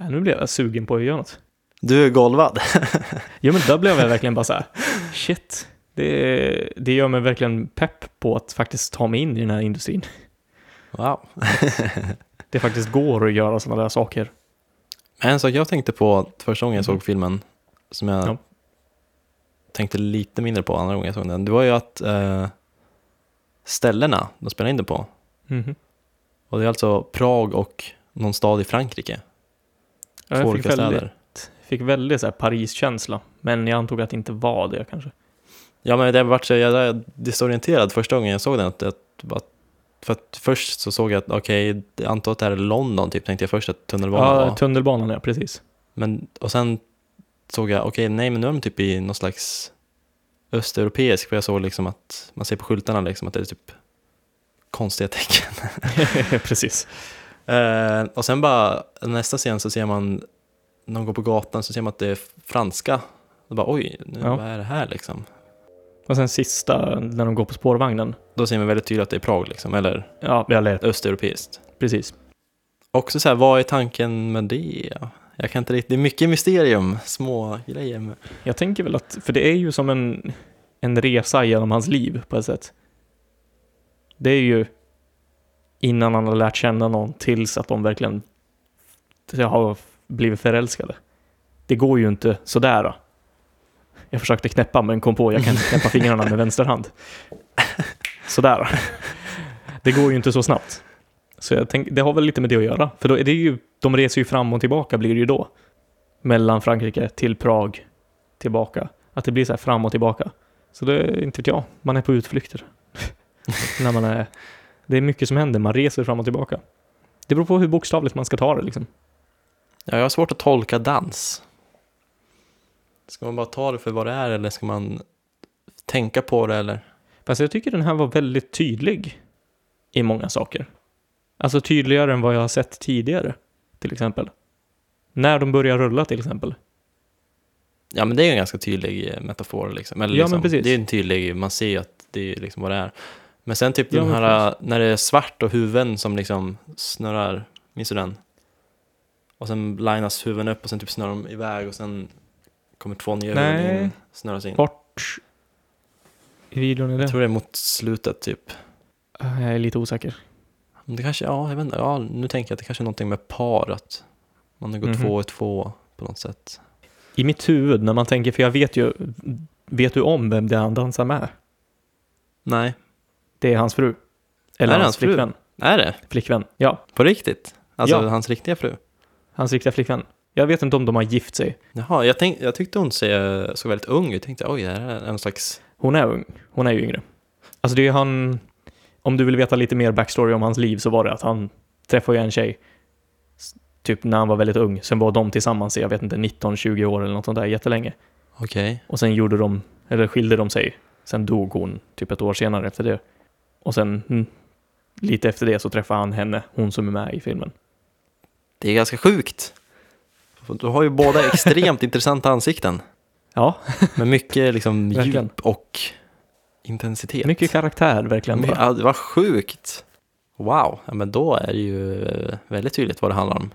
B: Äh, nu blev jag sugen på att göra något.
A: Du är golvad.
B: Jo men där blev jag verkligen bara så här. shit. Det, det gör mig verkligen pepp på att faktiskt ta mig in i den här industrin.
A: Wow.
B: det faktiskt går att göra sådana där saker.
A: Men En sak jag tänkte på första gången jag
B: Mhm.
A: såg filmen, som jag
B: Ja.
A: tänkte lite mindre på andra gången jag såg den, det var ju att eh, ställena de spelade in det på,
B: Mhm.
A: och det är alltså Prag och någon stad i Frankrike, två
B: Ja, Jag fick
A: olika
B: väldigt,
A: städer.
B: fick väldigt så här Paris-känsla, men jag antog att det inte var det kanske.
A: Ja men det vart så jävla desorienterad första gången jag såg den, att, att, att för att först så såg jag att okej, jag antar att det här är London typ, tänkte jag först att tunnelbanan
B: Ja,
A: var.
B: tunnelbanan ja, precis.
A: Men, och sen såg jag, okej, nej men nu är de typ i någon slags östeuropeisk, för jag såg liksom att man ser på skyltarna liksom att det är typ konstiga tecken.
B: precis.
A: Eh, och sen bara nästa scen så ser man, när de går på gatan så ser man att det är franska. Och bara oj, nu,
B: Ja.
A: vad är det här liksom?
B: Och sen sista, när de går på spårvagnen.
A: Då ser man väldigt tydligt att det är Prag liksom, eller
B: Ja, jag lät.
A: östeuropeiskt.
B: Precis.
A: Också så här, vad är tanken med det? Jag kan inte riktigt, det är mycket mysterium, små grejer. Med,
B: Jag tänker väl att, för det är ju som en, en resa genom hans liv på ett sätt. Det är ju innan han har lärt känna någon tills att de verkligen har blivit förälskade. Det går ju inte sådär. Då. Jag försökte knäppa men kom på jag kan inte knäppa fingrarna med vänster hand. Sådär. Då. Det går ju inte så snabbt. Så jag tänk, det har väl lite med det att göra. För då är det ju, de reser ju fram och tillbaka blir det ju då. Mellan Frankrike till Prag tillbaka. Att det blir så här fram och tillbaka. Så det är inte vet jag, man är på utflykter. När man är, det är mycket som händer, man reser fram och tillbaka. Det beror på hur bokstavligt man ska ta det liksom.
A: Ja, jag har svårt att tolka dans. Ska man bara ta det för vad det är eller ska man tänka på det eller?
B: Fast jag tycker den här var väldigt tydlig i många saker. Alltså tydligare än vad jag har sett tidigare, till exempel. När de börjar rulla till exempel.
A: Ja, men det är ju en ganska tydlig eh, metafor liksom. Eller
B: Ja,
A: liksom,
B: men precis.
A: Det är en tydlig, man ser ju att det är liksom vad det är. Men sen typ
B: Ja,
A: den
B: men
A: här, eh, när det är svart och huvuden som liksom snurrar, minns du den? Och sen linas huvuden upp och sen typ snurrar de iväg och sen kommer två nya huvuden
B: Nej.
A: in, snurras in.
B: Vart i videon är
A: Jag
B: det?
A: tror det är mot slutet typ.
B: Ah, Jag är lite osäker.
A: Men Det kanske, ja, jag vet inte, ja, nu tänker jag att det kanske är någonting med par, att man går
B: Mhm.
A: två och två på något sätt.
B: I mitt huvud, när man tänker, för jag vet ju, vet du om vem det är han dansar med?
A: Nej,
B: Det är hans fru.
A: Är
B: Eller
A: det
B: hans,
A: hans fru?
B: flickvän.
A: är det?
B: Flickvän, ja.
A: På riktigt? Alltså
B: Ja.
A: hans riktiga fru?
B: Hans riktiga flickvän. Jag vet inte om de har gift sig.
A: Jaha, jag, tänk, jag tyckte hon se, såg väldigt ung ut, tänkte oj, det här är en slags...
B: Hon är ung. Hon är ju yngre. Alltså det är han... Om du vill veta lite mer backstory om hans liv så var det att han träffade ju en tjej s- typ när han var väldigt ung. Sen var de tillsammans i, jag vet inte, 19-20 år eller något sånt där jättelänge.
A: Okej.
B: Och sen gjorde de, eller skilde de sig. Sen dog hon typ ett år senare efter det. Och sen mm, lite efter det så träffade han henne, hon som är med i filmen.
A: Det är ganska sjukt. Du har ju båda extremt intressanta ansikten,
B: Ja,
A: med mycket liksom
B: Verkligen.
A: djup och intensitet.
B: mycket karaktär verkligen.
A: My-
B: bara.
A: ja, det var sjukt. Wow, ja, men då är det ju eh, väldigt tydligt vad det handlar om.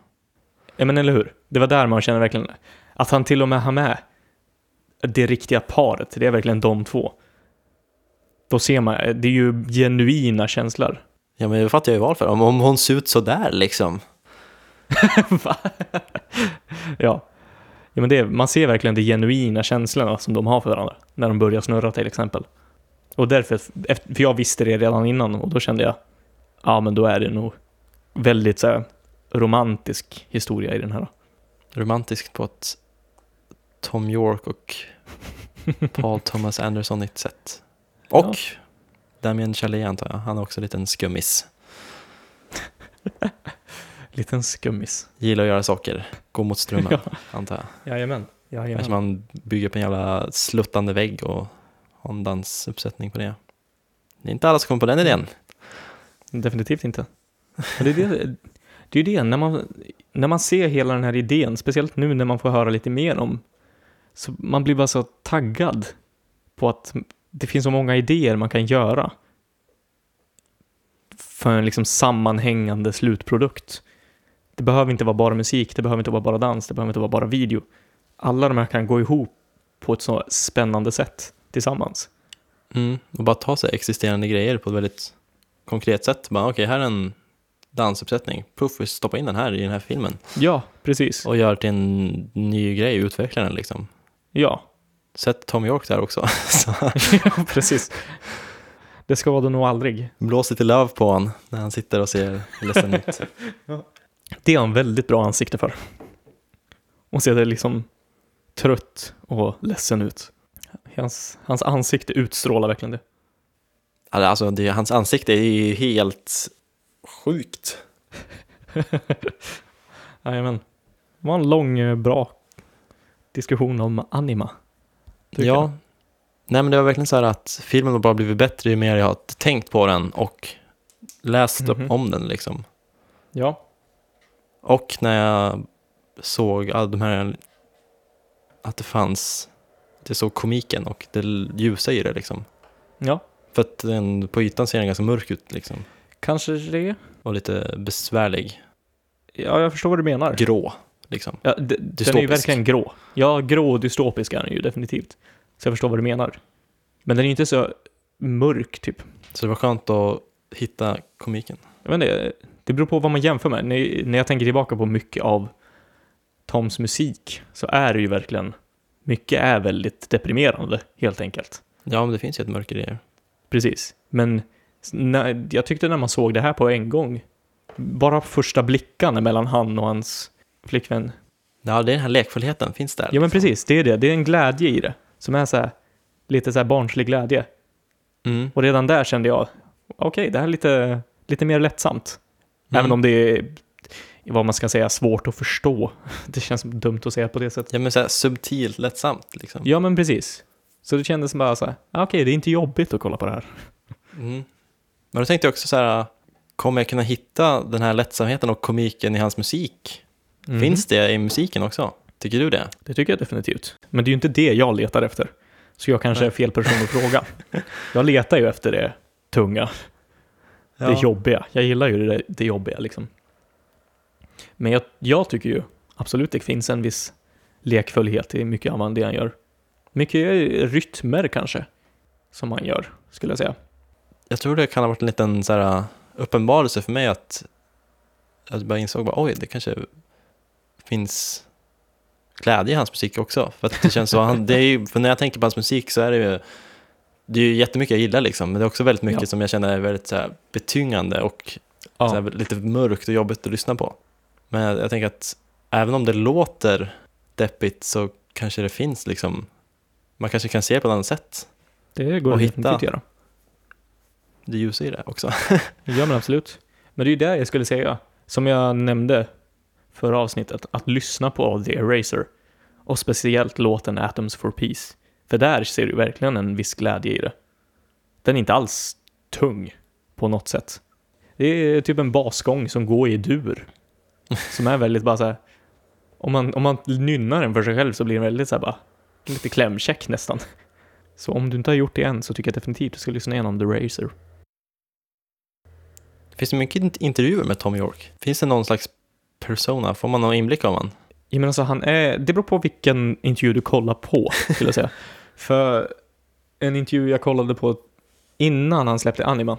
B: Ja men eller hur? Det var där man känner verkligen att han till och med har med det riktiga paret, det är verkligen de två. Då ser man, det är ju genuina känslor.
A: Ja, men det fattar jag ju varför. Om, om hon ser ut sådär liksom.
B: Va? ja. ja men det, är- man ser verkligen de genuina känslorna som de har för varandra när de börjar snurra till exempel. Och därför, efter- för jag visste det redan innan och då kände jag, ja men då är det nog väldigt så här, romantisk historia i den här.
A: Romantiskt på ett Tom York och Paul Thomas Anderson-igt sätt. Och Damien Chalet antar jag. Han är också en liten skummis.
B: Liten skummis.
A: Gillar att göra saker. Gå mot strömmen antar jag.
B: Jajamän.
A: Kanske
B: Jajamän.
A: man bygger upp en jävla sluttande vägg och har en dansuppsättning på det. Det är inte alla som kommer på den idén.
B: Definitivt inte. Men det är det, det, är ju det när, man, när man ser hela den här idén, speciellt nu när man får höra lite mer om, så man blir bara så taggad på att det finns så många idéer man kan göra för en liksom sammanhängande slutprodukt. Det behöver inte vara bara musik, det behöver inte vara bara dans, det behöver inte vara bara video. Alla de här kan gå ihop på ett så spännande sätt tillsammans.
A: Mm. Och bara ta sig existerande grejer på ett väldigt konkret sätt. Bara okej, här är en dansuppsättning. Puff, vi stoppar in den här i den här filmen.
B: Ja, precis.
A: Och gör till en ny grej, utveckla den liksom.
B: Ja.
A: Sätt Tom York där också. Så
B: Ja, precis. Det skadar nog aldrig.
A: blås lite löv på honom när han sitter och ser ledsen ut.
B: Det har han väldigt bra ansikte för. Och ser det liksom trött och ledsen ut. Hans, hans ansikte utstrålar verkligen det.
A: Alltså, det, hans ansikte är ju helt sjukt.
B: Jajamän. Det var en lång, eh, bra diskussion om anima. tycker
A: ja.
B: jag.
A: Nej men det var verkligen så här att filmen har bara blivit bättre ju mer jag har tänkt på den och läst upp
B: Mhm.
A: om den liksom.
B: Ja.
A: Och när jag såg all de här, att det fanns, det såg komiken och det ljusa i det liksom.
B: Ja.
A: För att den, på ytan ser den ganska mörk ut liksom.
B: Kanske det.
A: Och lite besvärlig,
B: Ja, jag förstår vad du menar.
A: grå liksom.
B: Ja, d- den är ju
A: Dystopisk.
B: verkligen grå. Ja, grå och dystopisk är den ju definitivt. Så jag förstår vad du menar. Men den är ju inte så mörk typ.
A: Så det var skönt att hitta komiken.
B: Jag vet inte, det beror på vad man jämför med. När, när jag tänker tillbaka på mycket av Toms musik så är det ju verkligen, mycket är väldigt deprimerande helt enkelt.
A: Ja men det finns ju ett mörker i det.
B: Precis. Men s- när, jag tyckte när man såg det här på en gång, bara första blickan mellan han och hans flickvän.
A: Ja det är den här lekfullheten, finns där.
B: Ja men precis, det är det. Det är en glädje i det som är så här, lite så här barnslig glädje.
A: Mm.
B: Och redan där kände jag, okej, det här är lite, lite mer lättsamt. Även
A: Mm.
B: om det är, vad man ska säga, svårt att förstå. Det känns dumt att säga på det sättet.
A: Ja men så här subtilt, lättsamt liksom.
B: Ja, men precis. Så det kändes som bara så här, ah, okej, det är inte jobbigt att kolla på det här.
A: Mm. Men då tänkte jag också så här, kommer jag kunna hitta den här lättsamheten och komiken i hans musik?
B: Mm.
A: Finns det i musiken också? Tycker du det?
B: Det tycker jag definitivt. Men det är ju inte det jag letar efter. Så jag kanske
A: Nej.
B: är fel person att fråga. Jag letar ju efter det tunga, det jobbiga. Jag gillar ju det, det jobbiga liksom. Men jag, jag tycker ju absolut det finns en viss lekfullhet i mycket av det han gör. Mycket rytmer kanske, som han gör, skulle jag säga.
A: Jag tror det kan ha varit en liten så här, äh, uppenbarelse för mig att jag bara insåg bara, oj, det kanske finns glädje i hans musik också. För att det känns så, han, det är ju, för när jag tänker på hans musik så är det ju, det är ju jättemycket jag gillar liksom, men det är också väldigt mycket
B: Ja.
A: som jag känner är väldigt så här, betyngande och
B: Ja.
A: så här, lite mörkt och jobbigt att lyssna på. Men jag, jag tänker att även om det låter deppigt så kanske det finns liksom, man kanske kan se det på ett annat sätt,
B: Det går
A: Och
B: att
A: hitta.
B: hitta. göra.
A: det ljusa i det också.
B: Ja, men absolut. Men det är ju där jag skulle säga, som jag nämnde förra avsnittet, att lyssna på The Eraser. Och speciellt låten Atoms for Peace. För där ser du verkligen en viss glädje i det. Den är inte alls tung på något sätt. Det är typ en basgång som går i dur. Som är väldigt bara så här. Om man, om man nynnar den för sig själv så blir den väldigt så här bara, lite klämkäck nästan. Så om du inte har gjort det än så tycker jag definitivt du ska lyssna igenom The Eraser.
A: Finns det mycket int- intervjuer med Tom York? Finns det någon slags persona? Får man någon inblick av honom?
B: Jag menar alltså, han är, det beror på vilken intervju du kollar på, skulle jag säga. För en intervju jag kollade på innan han släppte Anima,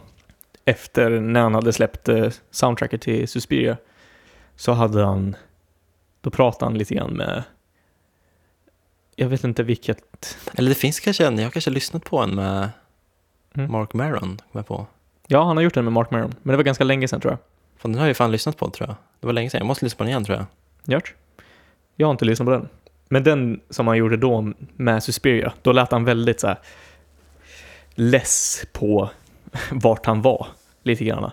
B: efter när han hade släppt eh, soundtracket till Suspiria, så hade han, då pratade han lite grann med, jag vet inte vilket,
A: Eller det finns kanske en, jag har kanske lyssnat på en med
B: Mm.
A: Mark Maron, kom jag på.
B: ja han har gjort den med Mark Maron, men det var ganska länge sedan tror jag.
A: Fan, den har jag ju fan lyssnat på tror jag. Det var länge sedan, jag måste lyssna på den igen tror jag.
B: Gjort. Jag har inte lyssnat på den. Men den som han gjorde då med Suspiria, då lät han väldigt så här less på vart han var. Lite grann.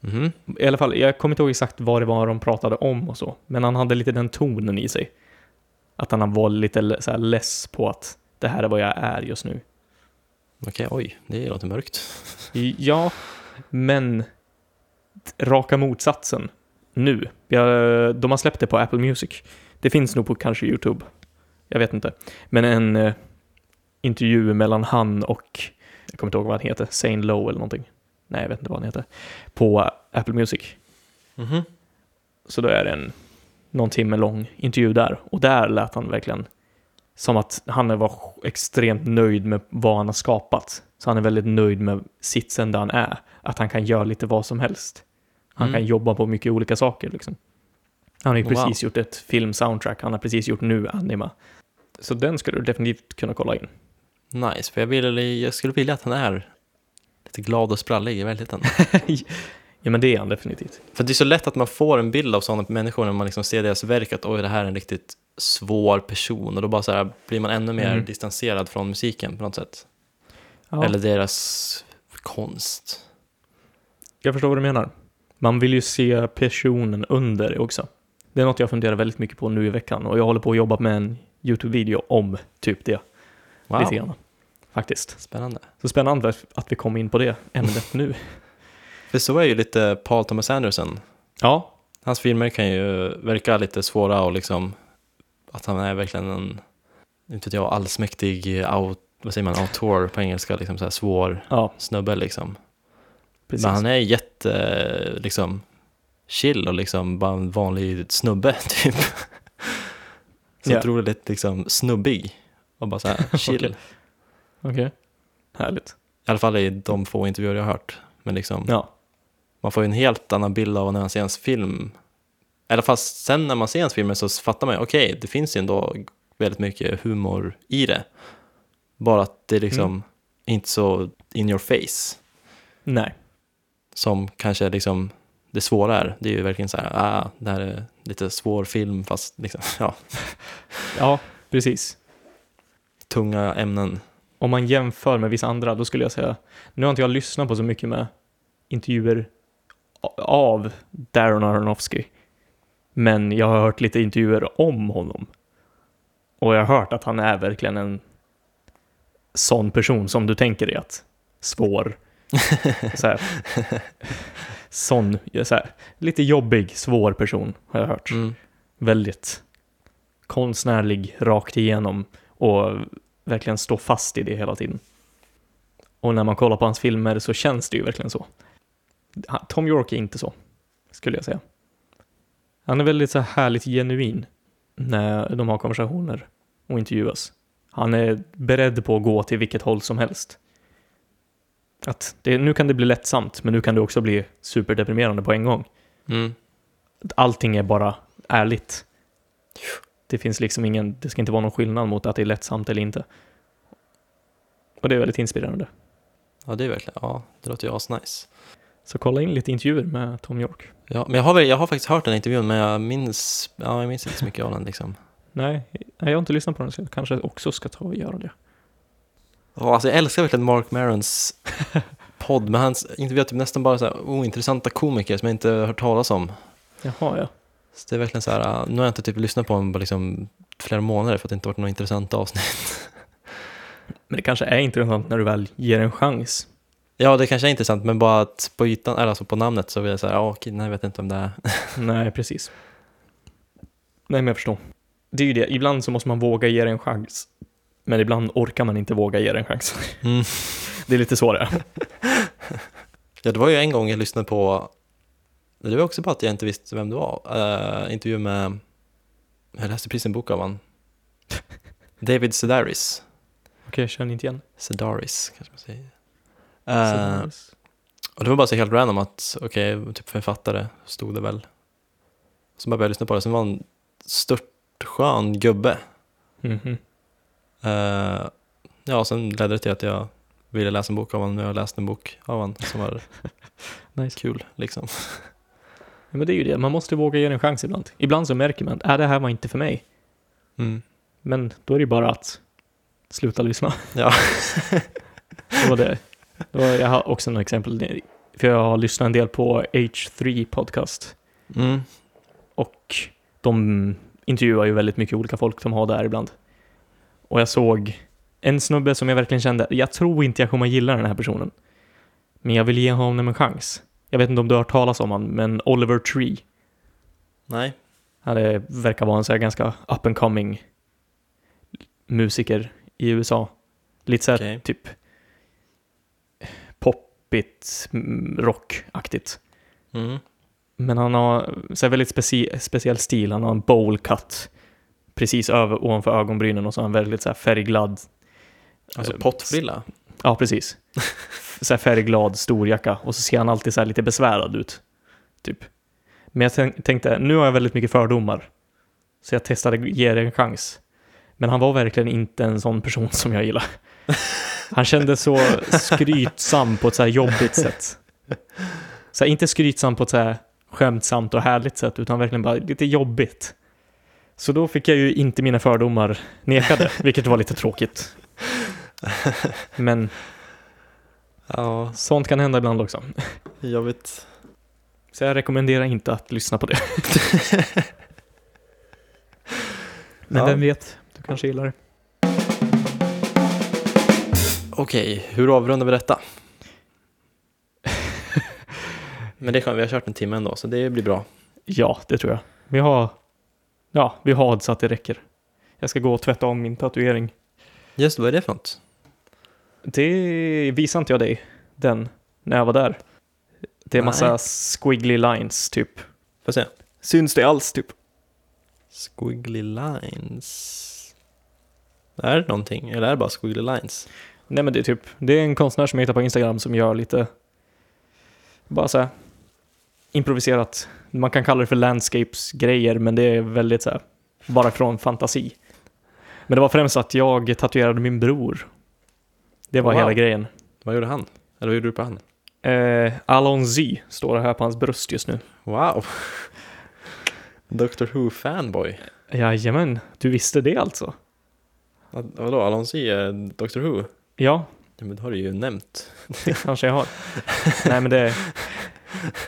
A: Mhm.
B: I alla fall, jag kommer inte ihåg exakt vad det var de pratade om och så. Men han hade lite den tonen i sig. Att han var lite så här less på att det här är vad jag är just nu.
A: Okej, oj, det låter mörkt.
B: Ja, men raka motsatsen nu. Jag, de har släppt det på Apple Music. Det finns nog på kanske YouTube. Jag vet inte. Men en eh, intervju mellan han och, jag kommer inte ihåg vad han heter, Zane Lowe eller någonting. Nej, jag vet inte vad han heter. På Apple Music.
A: Mhm.
B: Så då är det en någon timme lång intervju där. Och där lät han verkligen som att han var extremt nöjd med vad han har skapat. Så han är väldigt nöjd med sitsen där han är. Att han kan göra lite vad som helst. Han
A: Mm.
B: kan jobba på mycket olika saker. Liksom. Han har ju
A: Wow.
B: precis gjort ett filmsoundtrack, han har precis gjort nu anima. Så den skulle du definitivt kunna kolla in.
A: Mm, Nice, för jag, vill, jag skulle vilja att han är lite glad och sprallig i verkligheten.
B: Ja men det är han definitivt.
A: För det är så lätt att man får en bild av sådana människor när man liksom ser deras verk, att oj, det här är en riktigt svår person. Och då bara så här, blir man ännu mer
B: Mm.
A: distanserad från musiken på något sätt.
B: Ja.
A: Eller deras konst.
B: Jag förstår vad du menar. Man vill ju se personen under också. Det är något jag funderar väldigt mycket på nu i veckan och jag håller på att jobba med en YouTube-video om typ det.
A: Wow,
B: Lite grann. Faktiskt.
A: spännande.
B: Så spännande att- att vi kom in på det ämnet nu.
A: För så är ju lite Paul Thomas Anderson.
B: Ja,
A: Hans filmer kan ju verka lite svåra och liksom att han är verkligen en, inte vet jag, allsmäktig out, vad säger man, autor på engelska, liksom så här svår
B: ja
A: snubbe liksom.
B: precis.
A: Men han är jätte, liksom, chill och liksom bara en vanlig snubbe typ. Så
B: Ja.
A: otroligt liksom snubbig och bara så här chill.
B: Okej. Okej. Härligt.
A: I alla fall i de få intervjuer jag har hört. Men liksom,
B: Ja.
A: man får ju en helt annan bild av när man ser hans film. I alla fall sen när man ser hans filmer så fattar man ju, okej, det finns ju ändå väldigt mycket humor i det. Bara att det är liksom
B: Mm.
A: inte så in your face.
B: Nej.
A: som kanske är liksom det svåra är. Det är ju verkligen så här, ah, det här är lite svår film fast liksom, ja,
B: Ja, precis.
A: tunga ämnen.
B: Om man jämför med vissa andra, då skulle jag säga... Nu har inte jag lyssnat på så mycket med intervjuer a- av Darren Aronofsky. Men jag har hört lite intervjuer om honom. Och jag har hört att han är verkligen en sån person som du tänker dig att svår. så här, sån, så här, lite jobbig, svår person har jag hört
A: Mm.
B: väldigt konstnärlig rakt igenom och verkligen stå fast i det hela tiden. Och när man kollar på hans filmer så känns det ju verkligen så. Han- Tom York är inte så, skulle jag säga. Han är väldigt så här härligt genuin när de har konversationer och intervjuas. Han är beredd på att gå till vilket håll som helst. Att det, nu kan det bli lättsamt, men nu kan det också bli superdeprimerande på en gång
A: Mm.
B: allting är bara ärligt. Det finns liksom ingen, det ska inte vara någon skillnad mot att det är lättsamt eller inte. Och det är väldigt inspirerande.
A: Ja, det är verkligen, ja, det låter ju asnice.
B: Så kolla in lite intervjuer med Tom York.
A: Ja, men jag har, väl- jag har faktiskt hört den här intervjun, men jag minns, ja, jag minns inte så mycket av den liksom.
B: Nej, jag har inte lyssnat på den så jag kanske också ska ta och göra det.
A: Ja, alltså jag älskar verkligen Mark Marons podd, men hans intervjuar typ nästan bara så här ointressanta komiker som jag inte har hört talas om.
B: Jaha, ja.
A: Så det är verkligen så här, ah, nu har jag inte typ lyssnat på honom på liksom flera månader för att det inte varit några intressanta avsnitt.
B: Men det kanske är intressant när du väl ger en chans.
A: Ja, det kanske är intressant, men bara att på ytan, eller alltså på namnet så vill jag säga, ja, okej, nej, jag vet inte om det är.
B: Nej, precis. Nej, men jag förstår. Det är ju det, ibland så måste man våga ge det en chans. Men Mm. ibland orkar man inte våga ge det en chans.
A: Mm.
B: Det är lite så det är.
A: Ja, det var ju en gång jag lyssnade på, det var också bara att jag inte visste vem det var, Eh, intervju med, jag läste precis en bok av han. David Sedaris.
B: Okej, jag känner inte igen.
A: Sedaris kanske man säger. Eh, och det var bara så helt random att, okej, typ författare stod det väl. Så bara började jag lyssna på det, sen var han en stört skön gubbe.
B: Mhm.
A: Eh, ja, sen ledde det till att jag ville läsa en bok av honom, nu har jag läst en bok av honom som var
B: Nice.
A: kul liksom.
B: Ja, men det är ju det, man måste våga ge det en chans ibland. Ibland så märker man att äh, det här var inte för mig.
A: Mm.
B: Men då är det ju bara att sluta lyssna.
A: Ja.
B: det var det. det var, jag har också några exempel. För jag har lyssnat en del på H3 Podcast.
A: Mm.
B: Och de intervjuar ju väldigt mycket olika folk de har där ibland. Och jag såg en snubbe som jag verkligen kände, jag tror inte jag kommer gilla den här personen. Men jag vill ge honom en chans. Jag vet inte om du har hört talas om honom, men Oliver Tree.
A: Nej.
B: Han är, verkar vara en så här ganska up and coming musiker i USA. Lite så här
A: Okej.
B: typ poppigt, mm, rockaktigt.
A: Mm.
B: Men han har så här väldigt speci- speciell stil. Han har en bowl cut precis över, ovanför ögonbrynen och så har han väldigt så här färgglad,
A: Alltså
B: Eh,
A: pottfrilla?
B: ja precis, så här färgglad storjacka och så ser han alltid så här lite besvärad ut. Typ. Men jag tänk- tänkte, nu har jag väldigt mycket fördomar. Så jag testade ge det en chans. Men han var verkligen inte en sån person som jag gillar. Han kändes så skrytsam på ett så här jobbigt sätt. Så här, inte skrytsam på ett så här skämtsamt och härligt sätt, utan verkligen bara lite jobbigt. Så då fick jag ju inte mina fördomar nekade, vilket var lite tråkigt. Men
A: Ja,
B: sånt kan hända ibland också.
A: jag vet.
B: Så jag rekommenderar inte att lyssna på det. Men
A: Ja.
B: vem vet, du kanske gillar det.
A: Okej, hur avrundar vi detta? Men det är skönt, vi har kört en timme ändå, så det blir bra.
B: Ja, det tror jag. Vi har, ja, vi har så att det räcker. Jag ska gå och tvätta om min tatuering.
A: Just vad är det för något?
B: Det visade inte jag dig, den, när jag var där. Det är massa
A: Nej.
B: squiggly lines, typ.
A: Får se.
B: Syns det alls, typ?
A: Squiggly lines. Är det någonting, eller är det bara squiggly lines?
B: Nej, men det är typ, det är en konstnär som jag hittar på Instagram som gör lite, bara så här, improviserat. Man kan kalla det för landscapes-grejer, men det är väldigt så här, bara från fantasi. Men det var främst att jag tatuerade min bror. Det var
A: Wow.
B: hela grejen.
A: Vad gjorde han? Eller vad gjorde du på han?
B: Eh, Alonzi står det här på hans bröst just nu.
A: Wow! Doctor Who-fanboy.
B: Jajamän, du visste det alltså?
A: Vad- Vadå, Alonsi är Doctor Who?
B: Ja,
A: Ja, men det har du ju nämnt.
B: det kanske jag har. Nej, men det,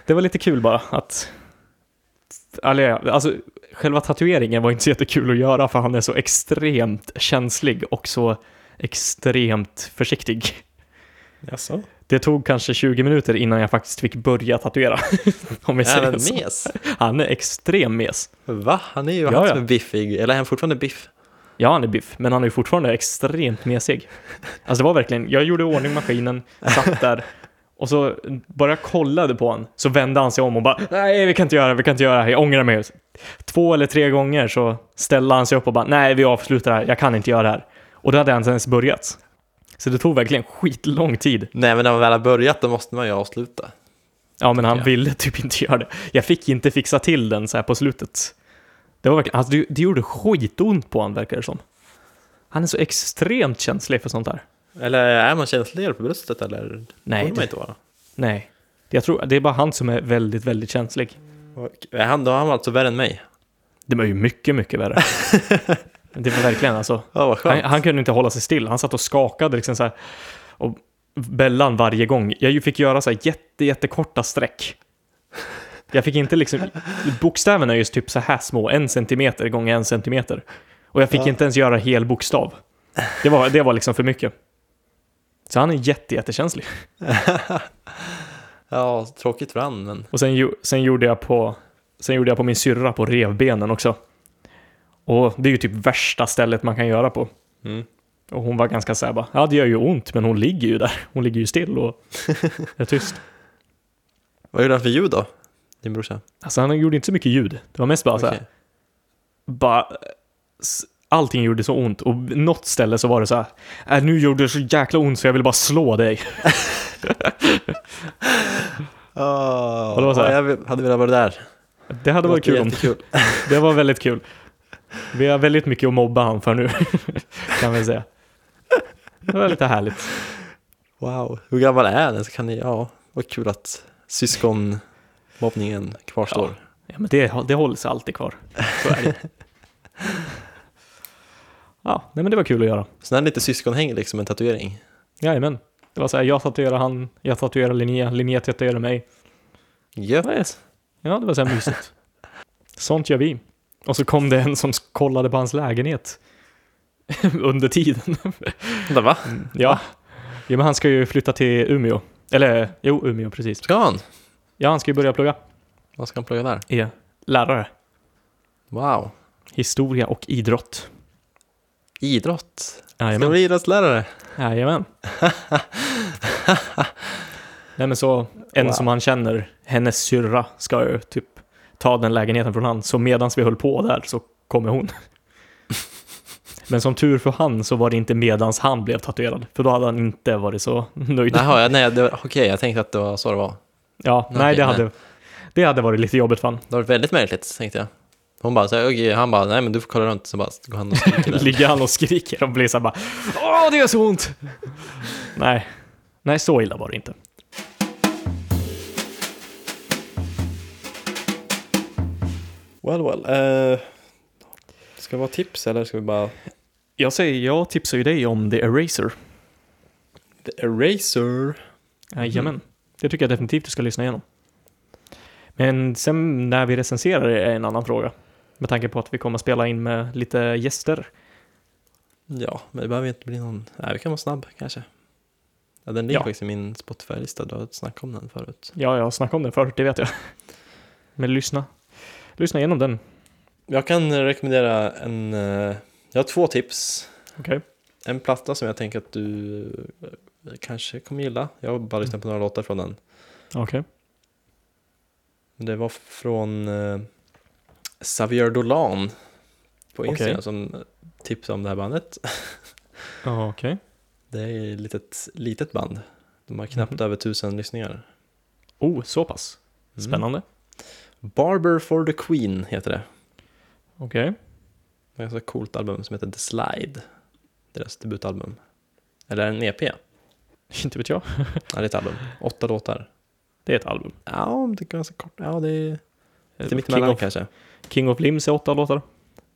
B: det var lite kul bara att... Eller ja, Alltså, själva tatueringen var inte så jättekul att göra för han är så extremt känslig och så extremt försiktig.
A: Jaså?
B: Det tog kanske 20 minuter innan jag faktiskt fick börja tatuera. Om vi
A: Även
B: säger så.
A: mes?
B: Han är extrem mes.
A: Va? Han är ju
B: Ja,
A: han
B: ja.
A: som är biffig, eller är han fortfarande biff?
B: Ja, han är biff, men han är ju fortfarande extremt mesig. Alltså det var verkligen, jag gjorde i ordning maskinen, satt där och så bara jag kollade på honom så vände han sig om och bara nej, vi kan inte göra det, vi kan inte göra det, här, jag ångrar mig. Två eller tre gånger så ställde han sig upp och bara nej, vi avslutar det här, jag kan inte göra det här. Och då hade han inte ens börjat. Så det tog verkligen skitlång tid.
A: Nej, men när man väl har börjat då måste man ju avsluta.
B: Ja, men han
A: Ja.
B: ville typ inte göra det. Jag fick inte fixa till den så här på slutet. Det var verkligen, alltså det, det gjorde skitont på honom verkar det som. Han är så extremt känslig för sånt där.
A: Eller är man känsligare på bröstet eller?
B: Nej,
A: Borde man
B: det,
A: inte vara.
B: nej. Jag tror, det är bara han som är väldigt, väldigt känslig.
A: Och- är Han, då har han alltså värre än mig.
B: Det var ju mycket, mycket värre. det var verkligen alltså.
A: Ja, vad
B: Han,
A: skönt.
B: han kunde inte hålla sig still. Han satt och skakade liksom så här. Och Bellan varje gång. Jag ju fick göra så här jätte, jättekorta streck. Jag fick inte liksom... Bokstäverna är just typ så här små. En centimeter gånger en centimeter. Och jag fick
A: Ja.
B: inte ens göra hel bokstav. Det var, det var liksom för mycket. Så han är jätte, jättekänslig.
A: Ja, tråkigt för han, men
B: Och sen, gjo- sen, gjorde jag på, sen gjorde jag på min syrra på revbenen också. Och det är ju typ värsta stället man kan göra på.
A: Mm.
B: Och hon var ganska såhär bara, ja det gör ju ont men hon ligger ju där. Hon ligger ju still och är tyst.
A: Vad gjorde han för ljud då? Din brorsa?
B: Alltså han gjorde inte så mycket ljud. Det var mest bara så här,
A: Okej.
B: bara, s- allting gjorde så ont och något ställe så var det så här, äh, nu gjorde det så jäkla ont så jag ville bara slå dig.
A: Ah,
B: Och det var så här-
A: ja, Ah, jag vill- hade velat vara där.
B: Det hade varit kul om
A: Jättekul.
B: Det var väldigt kul. Vi har väldigt mycket att mobba han för nu, kan vi säga. Det var lite härligt.
A: Wow, hur gammal är den? Så kan ni, ja, vad kul att syskonmobbningen kvarstår.
B: Ja, men det, det hålls alltid kvar. Så är det. Ja, nej, men det var kul att göra.
A: Sån här lite syskonhäng liksom, en tatuering.
B: Jajamän. Det var så här, jag tatuerar han, jag tatuerar Linnea, Linnea tatuerar mig.
A: Gött.
B: Ja, yes. Ja, det var så här mysigt. Sånt gör vi. Och så kom det en som kollade på hans lägenhet under tiden.
A: Vänta, va?
B: Ja. ja, men han ska ju flytta till Umeå. Eller, jo, Umeå, precis.
A: Ska han?
B: Ja, han ska ju börja plugga.
A: Vad ska han plugga där?
B: Är lärare.
A: Wow.
B: Historia och idrott.
A: Idrott. Ska han
B: Jajamän.
A: bli idrottslärare?
B: Jajamän. Nej men så, en
A: Wow.
B: som han känner, hennes syrra, ska ju typ ta den lägenheten från han. Så medan vi höll på där så kommer hon. Men som tur för han så var det inte medans han blev tatuerad. För då hade han inte varit så nöjd.
A: Jaha, ja, nej, det var- okej, jag tänkte att det var så det var.
B: Ja,
A: Okej,
B: nej det
A: nej.
B: hade, det hade varit lite jobbigt för han.
A: Det var väldigt märkligt, tänkte jag. Hon bara, så här, okej, han bara, nej men du får kolla runt, så bara går han och skriker där.
B: Ligger han och skriker och blir så här bara Åh, det gör så ont! Nej. Nej, så illa var det inte.
A: Well, well. ska det vara tips eller ska vi bara...
B: Jag säger, jag tipsar ju dig om The Eraser.
A: The Eraser.
B: Jajamän. Det tycker jag definitivt du ska lyssna igenom. Men sen när vi recenserar det är en annan fråga. Med tanke på att vi kommer spela in med lite gäster.
A: Ja, men det behöver inte bli någon... Nej, vi kan vara snabb kanske. Ja, den ligger
B: Ja.
A: faktiskt i min Spotify-lista, du har snackat om den förut.
B: Ja, jag har snackat om den förut, det vet jag. Men lyssna. Lyssna igenom den.
A: Jag kan rekommendera en... eh, Jag har två tips.
B: Okej.
A: En platta som jag tänker att du eh, kanske kommer gilla. Jag har bara lyssnat på några låtar från den.
B: Okej.
A: Men Det var från eh, Xavier Dolan på Instagram
B: Okej.
A: som eh, tipsade om det här bandet.
B: Ja, Okej.
A: Det är ett litet, litet band. De har knappt över tusen lyssningar.
B: Oh, så pass.
A: Mm.
B: Spännande.
A: Barber for the Queen heter det.
B: Okej.
A: Det är ett ganska coolt album som heter The Slide. Deras debutalbum. Eller en EP. Ja,
B: Inte vet jag.
A: det är ett album. Åtta låtar.
B: Det är ett album.
A: Ja, det är ganska kort. Ja, det är lite
B: King
A: mittemellan
B: of,
A: kanske.
B: King of Limbs är åtta låtar.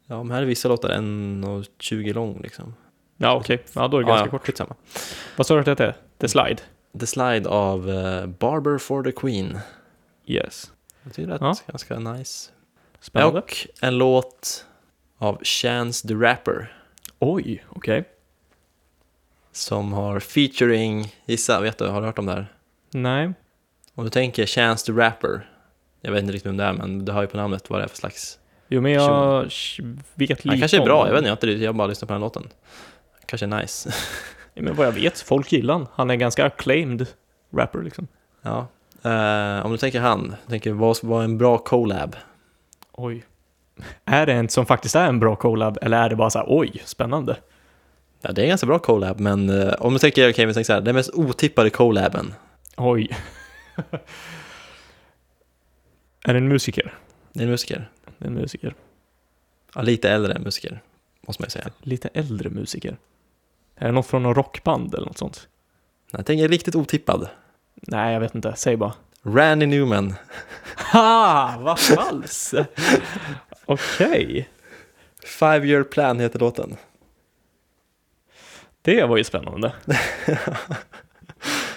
A: Ja, men här är vissa låtar 1.20 lång liksom.
B: Ja, okej. Ja, då är det
A: Ja,
B: ganska
A: Ah, ja,
B: kort.
A: skitsamma.
B: Vad sa du att det hette? The Slide?
A: The Slide av eh, Barber for the Queen.
B: Yes.
A: Jag tycker det
B: Ja.
A: är ganska nice.
B: Spännande.
A: Och en låt av Chance the Rapper
B: Oj, okej.
A: som har featuring, gissa, vet du, har du hört om det här?
B: Nej.
A: Om du tänker Chance the Rapper, jag vet inte riktigt vem det är men du har ju på namnet vad det är för slags.
B: Jo, men jag vet lite
A: Han kanske är
B: om
A: bra,
B: honom.
A: jag vet inte, jag, har inte- jag har bara lyssnat på den här låten. Kanske är nice.
B: Ja, Men vad jag vet, folk gillar han. Han är en ganska acclaimed rapper liksom.
A: ja. Eh, om du tänker han, tänker vad var en bra collab?
B: Oj. Är det en som faktiskt är en bra collab eller är det bara så här, oj, spännande?
A: Ja, det är en ganska bra collab, men eh, om du tänker, okej, vi tänker så här, den mest otippade collaben.
B: Oj. är det en musiker?
A: Det är en musiker.
B: Det är En musiker.
A: Ja, lite äldre musiker, måste man ju säga.
B: Lite äldre musiker. Är det något från någon rockband eller något sånt?
A: Jag tänker riktigt otippad.
B: Nej, jag vet inte. Säg bara.
A: Randy Newman.
B: Ha, vad falskt! Okej,
A: Five year plan heter låten.
B: det var ju spännande.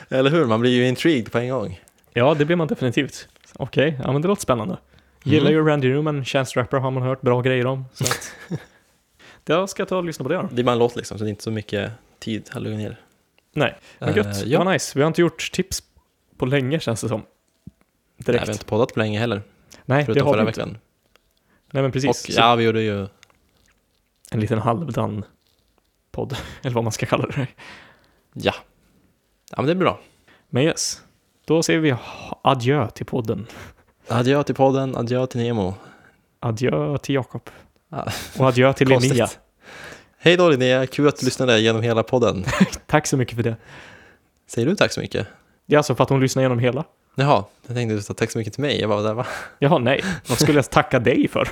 A: Eller hur? Man blir ju intrigued på en gång.
B: Ja, det blir man definitivt. Okej, ja men det låter spännande.
A: Mm.
B: Gillar ju Randy Newman, Chance Rapper har man hört bra grejer om. Så att... jag ska ta och lyssna på det då.
A: Det är bara en låt liksom, så det är inte så mycket tid han lägger ner.
B: Nej, men
A: Eh,
B: gött. Det
A: ja.
B: var nice. Vi har inte gjort tips på länge känns det som.
A: Nej,
B: Direkt.
A: vi har
B: Nej,
A: inte poddat på länge heller,
B: det
A: förutom
B: har vi
A: förra
B: inte.
A: veckan.
B: Nej, men precis.
A: Och
B: Så
A: ja, vi gjorde ju...
B: En liten halvdan podd, eller vad man ska kalla det.
A: Ja. Ja, men det är bra.
B: Men yes, Då säger vi adjö till podden.
A: Adjö till podden, adjö till Nemo.
B: Adjö till Jakob.
A: Ja.
B: Och adjö till
A: Konstigt.
B: Linnea.
A: Hej då Linnea, kul att du lyssnade genom hela podden.
B: Tack så mycket för det.
A: Säger du tack så mycket?
B: Det är alltså för att hon lyssnar igenom hela.
A: Jaha, jag tänkte du sa tack så mycket till mig. Jag bara, där, va?
B: Jaha, nej. Vad skulle jag tacka dig för?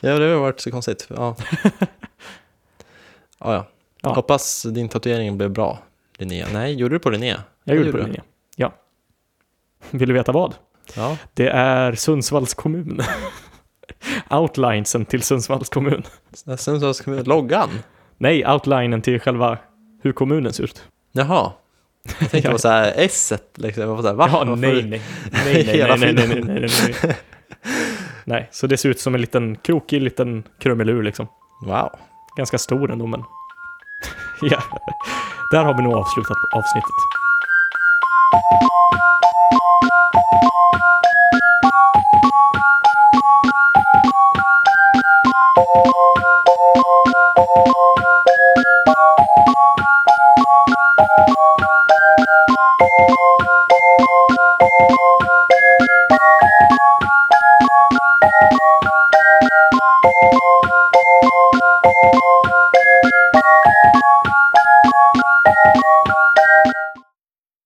A: Ja, det har varit så konstigt. Ja. ja, ja.
B: Ja.
A: Hoppas din tatuering blev bra, Linnea. Nej, gjorde du på Linnea?
B: Jag
A: Ja,
B: gjorde på Linnea. Ja. Vill du veta vad?
A: Ja,
B: Det är Sundsvalls kommun. Outlinesen till Sundsvalls kommun.
A: sen så ska vi... Loggan?
B: Nej, outlinen till själva hur kommunen ser ut.
A: Jaha. Jag tänkte det var så här S-et, liksom. Jag var så här, va?
B: Jaha,
A: Varför-
B: nej, nej, nej, nej,
A: Hela
B: nej, nej, nej,
A: tiden.
B: nej, nej, nej, nej. Nej, så det ser ut som en liten krokig liten krumelur liksom.
A: Wow.
B: Ganska stor ändå, men... Ja, där har vi nog avslutat avsnittet.